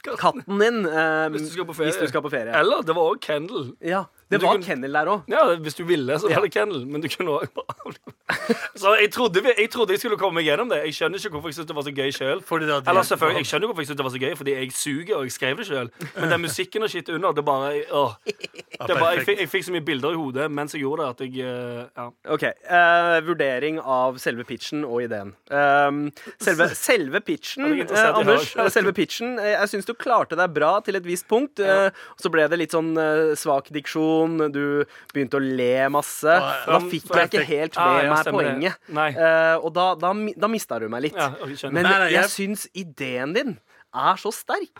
S4: katten din eh,
S7: Hvis du skal på ferie.
S4: Hvis du skal på ferie.
S7: Eller, det var også kennel.
S4: Ja. Det
S7: Du
S4: var
S7: kunne-
S4: kennel der òg.
S7: Ja, hvis du ville, så var det kennel. Men du kunne også bare Så jeg trodde, vi- jeg trodde jeg skulle komme meg gjennom det. Jeg skjønner ikke hvorfor jeg syntes det var så gøy sjøl.
S8: Fordi det hadde-
S7: Eller selvfølgelig, jeg skjønner hvorfor jeg syntes det var så gøy, fordi jeg suger, og jeg skrev det sjøl. Men den musikken og shit under, det bare åh. Det bare, jeg, fikk, jeg fikk så mye bilder i hodet mens jeg gjorde det, at jeg eh, Ja.
S4: Ok, eh, Vurdering av selve pitchen og ideen. Ehm, selve, selve
S7: det er
S4: pitchen, eh,
S7: interessant å
S4: Anders,
S7: høre.
S4: eh, selve pitchen, eh, jeg syns du klarte deg bra til et visst punkt. eh, og så ble det litt sånn eh, svak diksjon, du begynte å le masse. Da
S8: Ja,
S4: fikk jeg ikke helt
S7: Ah,
S4: med
S7: ja,
S4: meg
S7: stemmer det.
S4: poenget.
S7: Nei.
S4: Eh, og da, da, mi- da mista du meg litt.
S7: Ja, ok, skjønner.
S4: Men
S8: Nei, nei,
S4: jeg
S8: jeg-
S4: syns ideen din er så sterk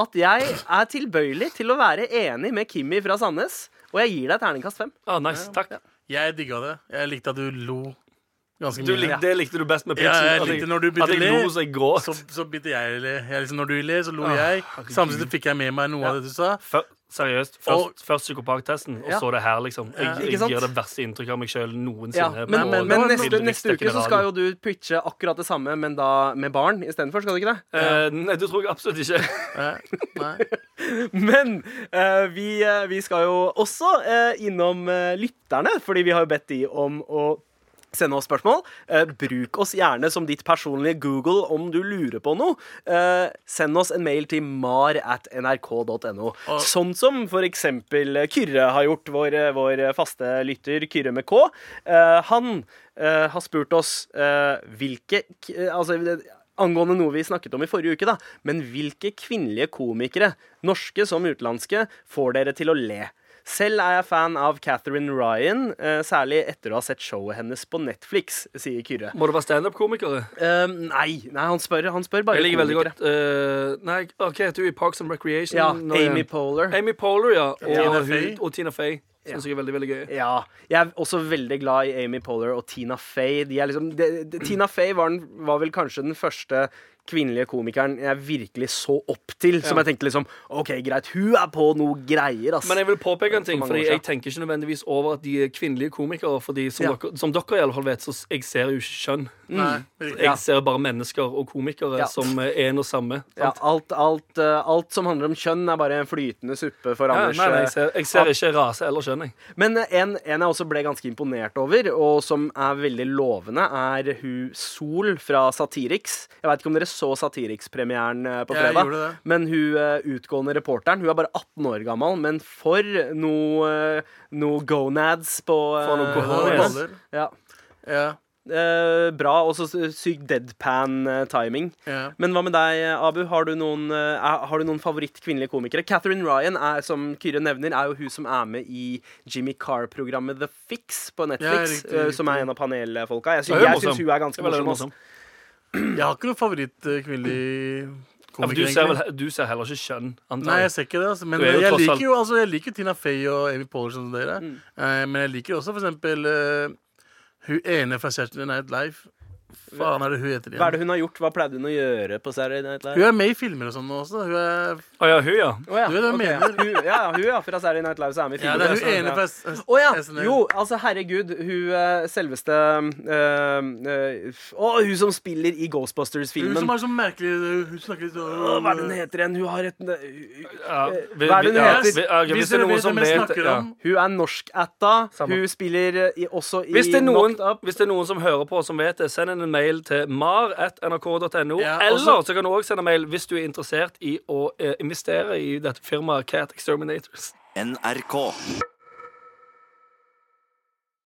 S4: at jeg er tilbøyelig til å være enig med Kimmi fra Sandnes, og jeg gir deg terningkast fem.
S7: Ah, nice. Takk.
S8: Jeg digga det. Jeg likte at du lo ganske
S7: Du,
S8: mye.
S7: lik, det likte du best med
S8: Ja,
S7: pitchen.
S8: jeg
S7: at
S8: likte når du begynte
S7: at jeg
S8: å le.
S7: lo så jeg gråt.
S8: så, så begynte jeg å le. Jeg, liksom, når du ler, så lo
S7: Åh,
S8: jeg.
S7: Ah, herregud.
S8: Samtidig fikk jeg med meg noe av det du sa.
S7: Før, seriøst. Først,
S8: Og-
S7: først psykopattesten, og
S4: Ja.
S7: så det her, liksom. Jeg,
S4: Ikke
S7: jeg
S4: sant?
S7: gir det verste inntrykket av meg sjøl
S4: Ja,
S7: noensinne.
S4: men,
S7: på-
S4: men,
S7: på-
S4: neste,
S7: på-
S4: neste uke så skal jo du pitche akkurat det samme, men da med barn istedenfor. Skal du ikke det?
S7: Eh, Nei, det tror jeg absolutt ikke.
S8: Nei, Eh, nei.
S4: Men eh, vi, eh, vi skal jo også eh, innom eh, lytterne, fordi vi har jo bedt de om å Sende oss spørsmål. Eh, bruk oss gjerne som ditt personlige Google om du lurer på noe. Eh, send oss en mail til mar at nrk.no. Sånn som for eksempel Kyrre har gjort, vår, vår faste lytter Kyrre med K. Eh, han eh, har spurt oss eh, hvilke k- eh, Altså angående noe vi snakket om i forrige uke, da. Men hvilke kvinnelige komikere, norske som utenlandske, får dere til å le? Selv er jeg fan av Catherine Ryan, eh, særlig etter å ha sett showet hennes på Netflix, sier Kyrre.
S7: Må det være standup-komikere?
S4: Eh, nei, nei, han spør, han spør bare
S7: Ehm, Jeg liker veldig godt eh, Nei, OK, du er i Parks and Recreation.
S4: Ja,
S7: nå
S4: Amy
S7: igjen.
S4: Poehler.
S7: Amy Poehler, ja. Og
S8: Tina
S7: hun-
S8: Fey.
S7: Og Tina Fey. Syns jeg er veldig, veldig gøy.
S4: Ja. Jeg er også veldig glad i Amy Poehler og Tina Fey. De er liksom, de, de, Tina Fey var, den, var vel kanskje den første kvinnelige komikeren jeg virkelig så opp til. Som jeg tenkte liksom OK, greit, hun er på noe greier, ass.
S7: Men jeg vil påpeke en ting,
S4: mange
S7: Fordi
S4: år
S7: jeg tenker ikke nødvendigvis over at de er kvinnelige komikere. Fordi som,
S4: Ja. Mm.
S7: dere, som dere i alle fall vet, så s- jeg ser jo ikke kjønn.
S8: nei. riktig.
S7: Jeg ser bare mennesker og komikere
S4: Ja.
S7: som eh, er en og samme.
S4: Ja, alt, alt, eh, alt som handler om kjønn, er bare en flytende suppe for
S7: Ja,
S4: Anders.
S7: nei, nei, jeg,
S4: eh.
S7: ser, jeg ser ikke rase eller kjønn, jeg.
S4: Men eh, en, en jeg også ble ganske imponert over, og som er veldig lovende, er hun Sol fra Satiriks. Jeg veit ikke om dere så Satiriks-premieren eh, på
S8: Jeg
S4: fredag,
S8: gjorde det.
S4: men hun eh, utgående reporteren Hun er bare 18 år gammel, men for noe, eh, noe gonads på eh,
S7: For noe
S8: Boller,
S7: gonads.
S8: boller.
S4: Ja.
S8: Ja,
S4: Eh, bra, og så sykt deadpan-timing.
S8: ja.
S4: Men hva med deg, Abu? Har du noen, eh, er- har du noen favoritt-kvinnelige komikere? Catherine Ryan, er, som Kyrre nevner, er jo hun som er med i Jimmy Carr-programmet The Fix på Netflix.
S8: Ja, riktig,
S4: eh, som er en av panelfolka. Jeg
S7: Ja,
S4: syns,
S7: hun er
S4: jeg
S7: morsom.
S4: syns hun er ganske
S7: Det er veldig
S4: morsom. altså. også.
S7: morsom.
S8: Jeg har ikke noen eh, favoritt-kvinnelig
S7: Ja, for
S8: komiker.
S7: du, ser
S8: egentlig.
S7: vel, du ser heller ikke kjønn,
S8: Nei,
S7: antar
S8: jeg
S7: jeg.
S8: ser ikke det. Altså. Men
S7: Du er jo
S8: jeg
S7: tross
S8: liker jo altså, jeg liker jo Tina Fey og Amy Poehler som dere.
S4: Mm.
S8: Eh, men jeg liker også for eksempel eh, hun ene fra Saturday Night Live. Faen, er det hun heter
S4: Hva er
S8: igjen?
S4: det hun har gjort? Hva pleide hun å gjøre på Saturday Night Live?
S8: Hun er med i filmer og sånn nå også. Hun er,
S7: Å ja, hun, ja.
S4: Å ja,
S8: Du vet hva jeg
S4: ok, ja.
S8: mener.
S4: Hun, ja, ja, hun ja, fra Saturday Night Live, så er hun i
S8: ja,
S4: filmen.
S8: det er
S4: Ja,
S8: hun ene fra S- S-
S4: Å ja!
S8: SNL.
S4: Jo, altså, herregud, hun eh, selveste eh, eh, f- Å, hun som spiller i
S8: Hun
S4: Ghostbusters-filmen.
S8: som er så merkelig Hun snakker litt sånn
S4: Å, Hva er det hun heter igjen? Hun har et
S7: ja vi-
S4: Hva er det hun
S7: vi- ja,
S4: heter?
S7: vi- ja,
S8: Hvis dere vet hvem jeg snakker
S7: ja.
S8: om
S4: Hun er norskatta.
S7: Samme.
S4: Hun spiller eh, i, også i
S7: Hvis det, er noen,
S4: Knocked Up.
S7: hvis det er noen som hører på som vet det, send en mail til mar.nrk.no.
S8: Ja,
S7: eller
S8: også-
S7: så kan du også sende mail hvis du er interessert i å eh, investere i dette firmaet Cat Exterminators.
S1: NRK.